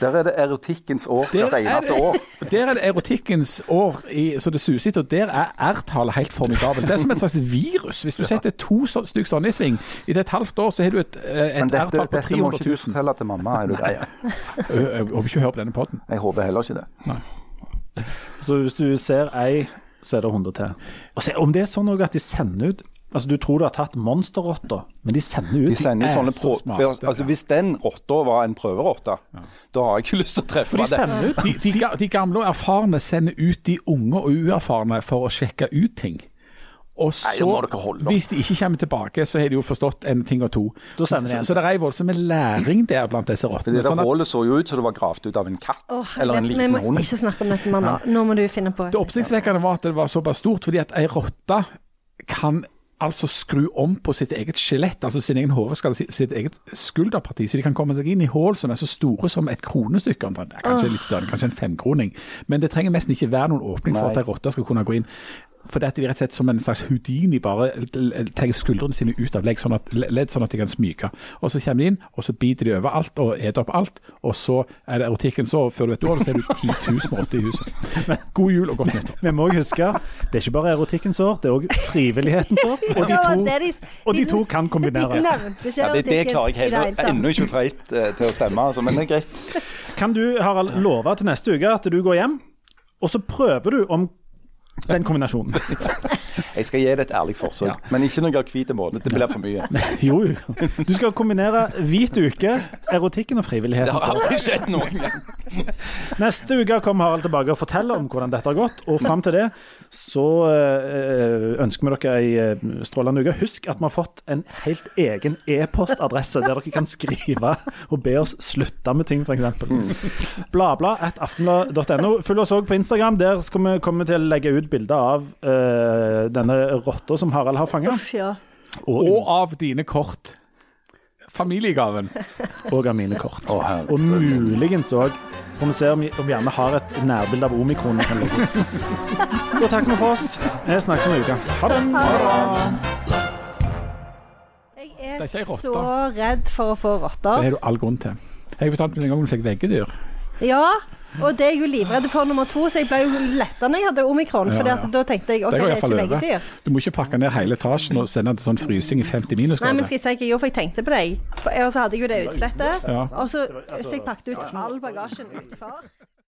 [SPEAKER 2] Der er det erotikkens år
[SPEAKER 3] Der
[SPEAKER 2] hvert eneste år.
[SPEAKER 3] der er det erotikkens år i, så det suser etter, og der er R-tallet helt formidabelt. Det er som et slags virus. Hvis du setter to så, stykk sånne i sving, i et halvt år så har du et, eh,
[SPEAKER 2] Men
[SPEAKER 3] et
[SPEAKER 2] dette,
[SPEAKER 3] R-tall på
[SPEAKER 2] dette må
[SPEAKER 3] 300
[SPEAKER 2] ikke du
[SPEAKER 3] 000.
[SPEAKER 2] fortelle til mamma, er du grei?
[SPEAKER 3] Ø, ø, Øh, Jeg håper ikke hun hører på denne podden.
[SPEAKER 2] Jeg håper heller ikke det.
[SPEAKER 4] Så hvis du ser ei, så er det 100 til. Og se, om det er sånn også at de sender ut Altså, Du tror du har tatt monsterrotta, men de sender ut
[SPEAKER 2] De sender
[SPEAKER 3] er
[SPEAKER 2] ut sånne
[SPEAKER 3] så
[SPEAKER 2] prø-
[SPEAKER 3] smarte,
[SPEAKER 2] altså,
[SPEAKER 3] ja.
[SPEAKER 2] Hvis den rotta var en prøverotte, da har jeg ikke lyst til å treffe
[SPEAKER 4] For de
[SPEAKER 2] det.
[SPEAKER 4] sender ut
[SPEAKER 3] De, de, ga- de gamle og erfarne sender ut de unge og uerfarne for å sjekke ut ting. Og så,
[SPEAKER 2] Nei, nå må dere holde opp.
[SPEAKER 3] hvis de ikke kommer tilbake, så har de jo forstått en ting og to.
[SPEAKER 4] Da
[SPEAKER 3] Så,
[SPEAKER 4] sender de
[SPEAKER 3] så,
[SPEAKER 4] en.
[SPEAKER 3] det er ei voldsom læring der blant disse
[SPEAKER 2] Det
[SPEAKER 3] rottene.
[SPEAKER 2] der
[SPEAKER 3] Sånn at
[SPEAKER 2] hullet så jo ut som det var gravd ut av en katt
[SPEAKER 1] Åh,
[SPEAKER 2] eller en
[SPEAKER 1] vet- Vi
[SPEAKER 2] liten
[SPEAKER 1] må
[SPEAKER 2] hund.
[SPEAKER 1] ikke snakke om dette, mann. nå. Nå må du finne på et.
[SPEAKER 3] Det oppsiktsvekkende var at det var såpass stort, fordi at ei rotte kan altså skru om på sitt eget skjelett, altså sin egen hodeskalle, si- sitt eget skulderparti, så de kan komme seg inn i hull som er så store som et kronestykke omtrent. Ja, Kanskje litt større, kanskje en femkroning. Men det trenger nesten ikke være noen åpning for
[SPEAKER 2] Nei.
[SPEAKER 3] at ei rotte skal kunne gå inn. Fordi at de rett og slett som en slags Houdini bare l- l- tar skuldrene sine ut av legg, sånn at, ledd, sånn at de kan smyge. Og så kommer de inn, og så biter de over alt og eter opp alt. Og så er det erotikken så, før du vet ordet, så er du 10 000 rotter i huset. God jul og godt nyttår.
[SPEAKER 4] Vi må også huske, det er ikke bare erotikkens år, det er òg frivillighetens år. Og de to, og de to kan kombineres.
[SPEAKER 2] Ja, det, det klarer jeg heller ennå ikke helt eh, til å stemme, altså, men det er greit.
[SPEAKER 4] Kan du, Harald, love til neste uke at du går hjem, og så prøver du om den kombinasjonen?
[SPEAKER 2] Jeg skal gi det et ærlig forsøk,
[SPEAKER 3] Ja.
[SPEAKER 2] men ikke noe hvit måned. Det blir for mye.
[SPEAKER 4] Jo, jo. Du skal kombinere hvit uke, erotikken og
[SPEAKER 2] Det
[SPEAKER 4] frivilligheten.
[SPEAKER 2] har aldri skjedd noen gang.
[SPEAKER 4] Neste uke kommer Harald tilbake og forteller om hvordan dette har gått. Og fram til det så eh, ønsker vi dere ei eh, strålende uke. Husk at vi har fått en helt egen e-postadresse der dere kan skrive og be oss slutte med ting, f.eks. Bladbla at aftenblad.no. Følg oss òg på Instagram. Der skal vi komme til å legge ut bilder av eh, denne rotta som Harald har fanga,
[SPEAKER 1] Uff, ja.
[SPEAKER 4] og,
[SPEAKER 3] Og av dine kort. Familiegaven.
[SPEAKER 4] og av mine kort.
[SPEAKER 2] Å, herre.
[SPEAKER 4] Og muligens òg får vi se om om vi gjerne har et nærbilde av omikron. vi kan legge ut. Da takker vi for oss. Vi snakkes om en uke. Ha det.
[SPEAKER 1] Jeg
[SPEAKER 3] Det er ikke ei
[SPEAKER 1] er
[SPEAKER 3] rotte.
[SPEAKER 1] så redd for å få
[SPEAKER 3] Det
[SPEAKER 1] rotter.
[SPEAKER 3] har du all grunn til. Jeg fortalte meg en gang hun fikk veggedyr.
[SPEAKER 1] Ja, og det er jeg jo livredd for nummer to, så jeg ble jo letta når jeg hadde omikron. For
[SPEAKER 3] Ja,
[SPEAKER 1] at
[SPEAKER 3] ja.
[SPEAKER 1] da tenkte jeg OK,
[SPEAKER 3] det
[SPEAKER 1] det
[SPEAKER 3] går
[SPEAKER 1] er
[SPEAKER 3] iallfall
[SPEAKER 1] ikke
[SPEAKER 3] over.
[SPEAKER 1] legedyr.
[SPEAKER 3] Du må ikke pakke ned hele etasjen og sende til sånn frysing i 50 minus.
[SPEAKER 1] Nei, men skal jeg si hva jeg gjorde, for jeg tenkte på deg. For- Og så hadde jeg jo det utslettet.
[SPEAKER 3] Ja.
[SPEAKER 1] Og så, så jeg pakket ut all bagasjen utfor.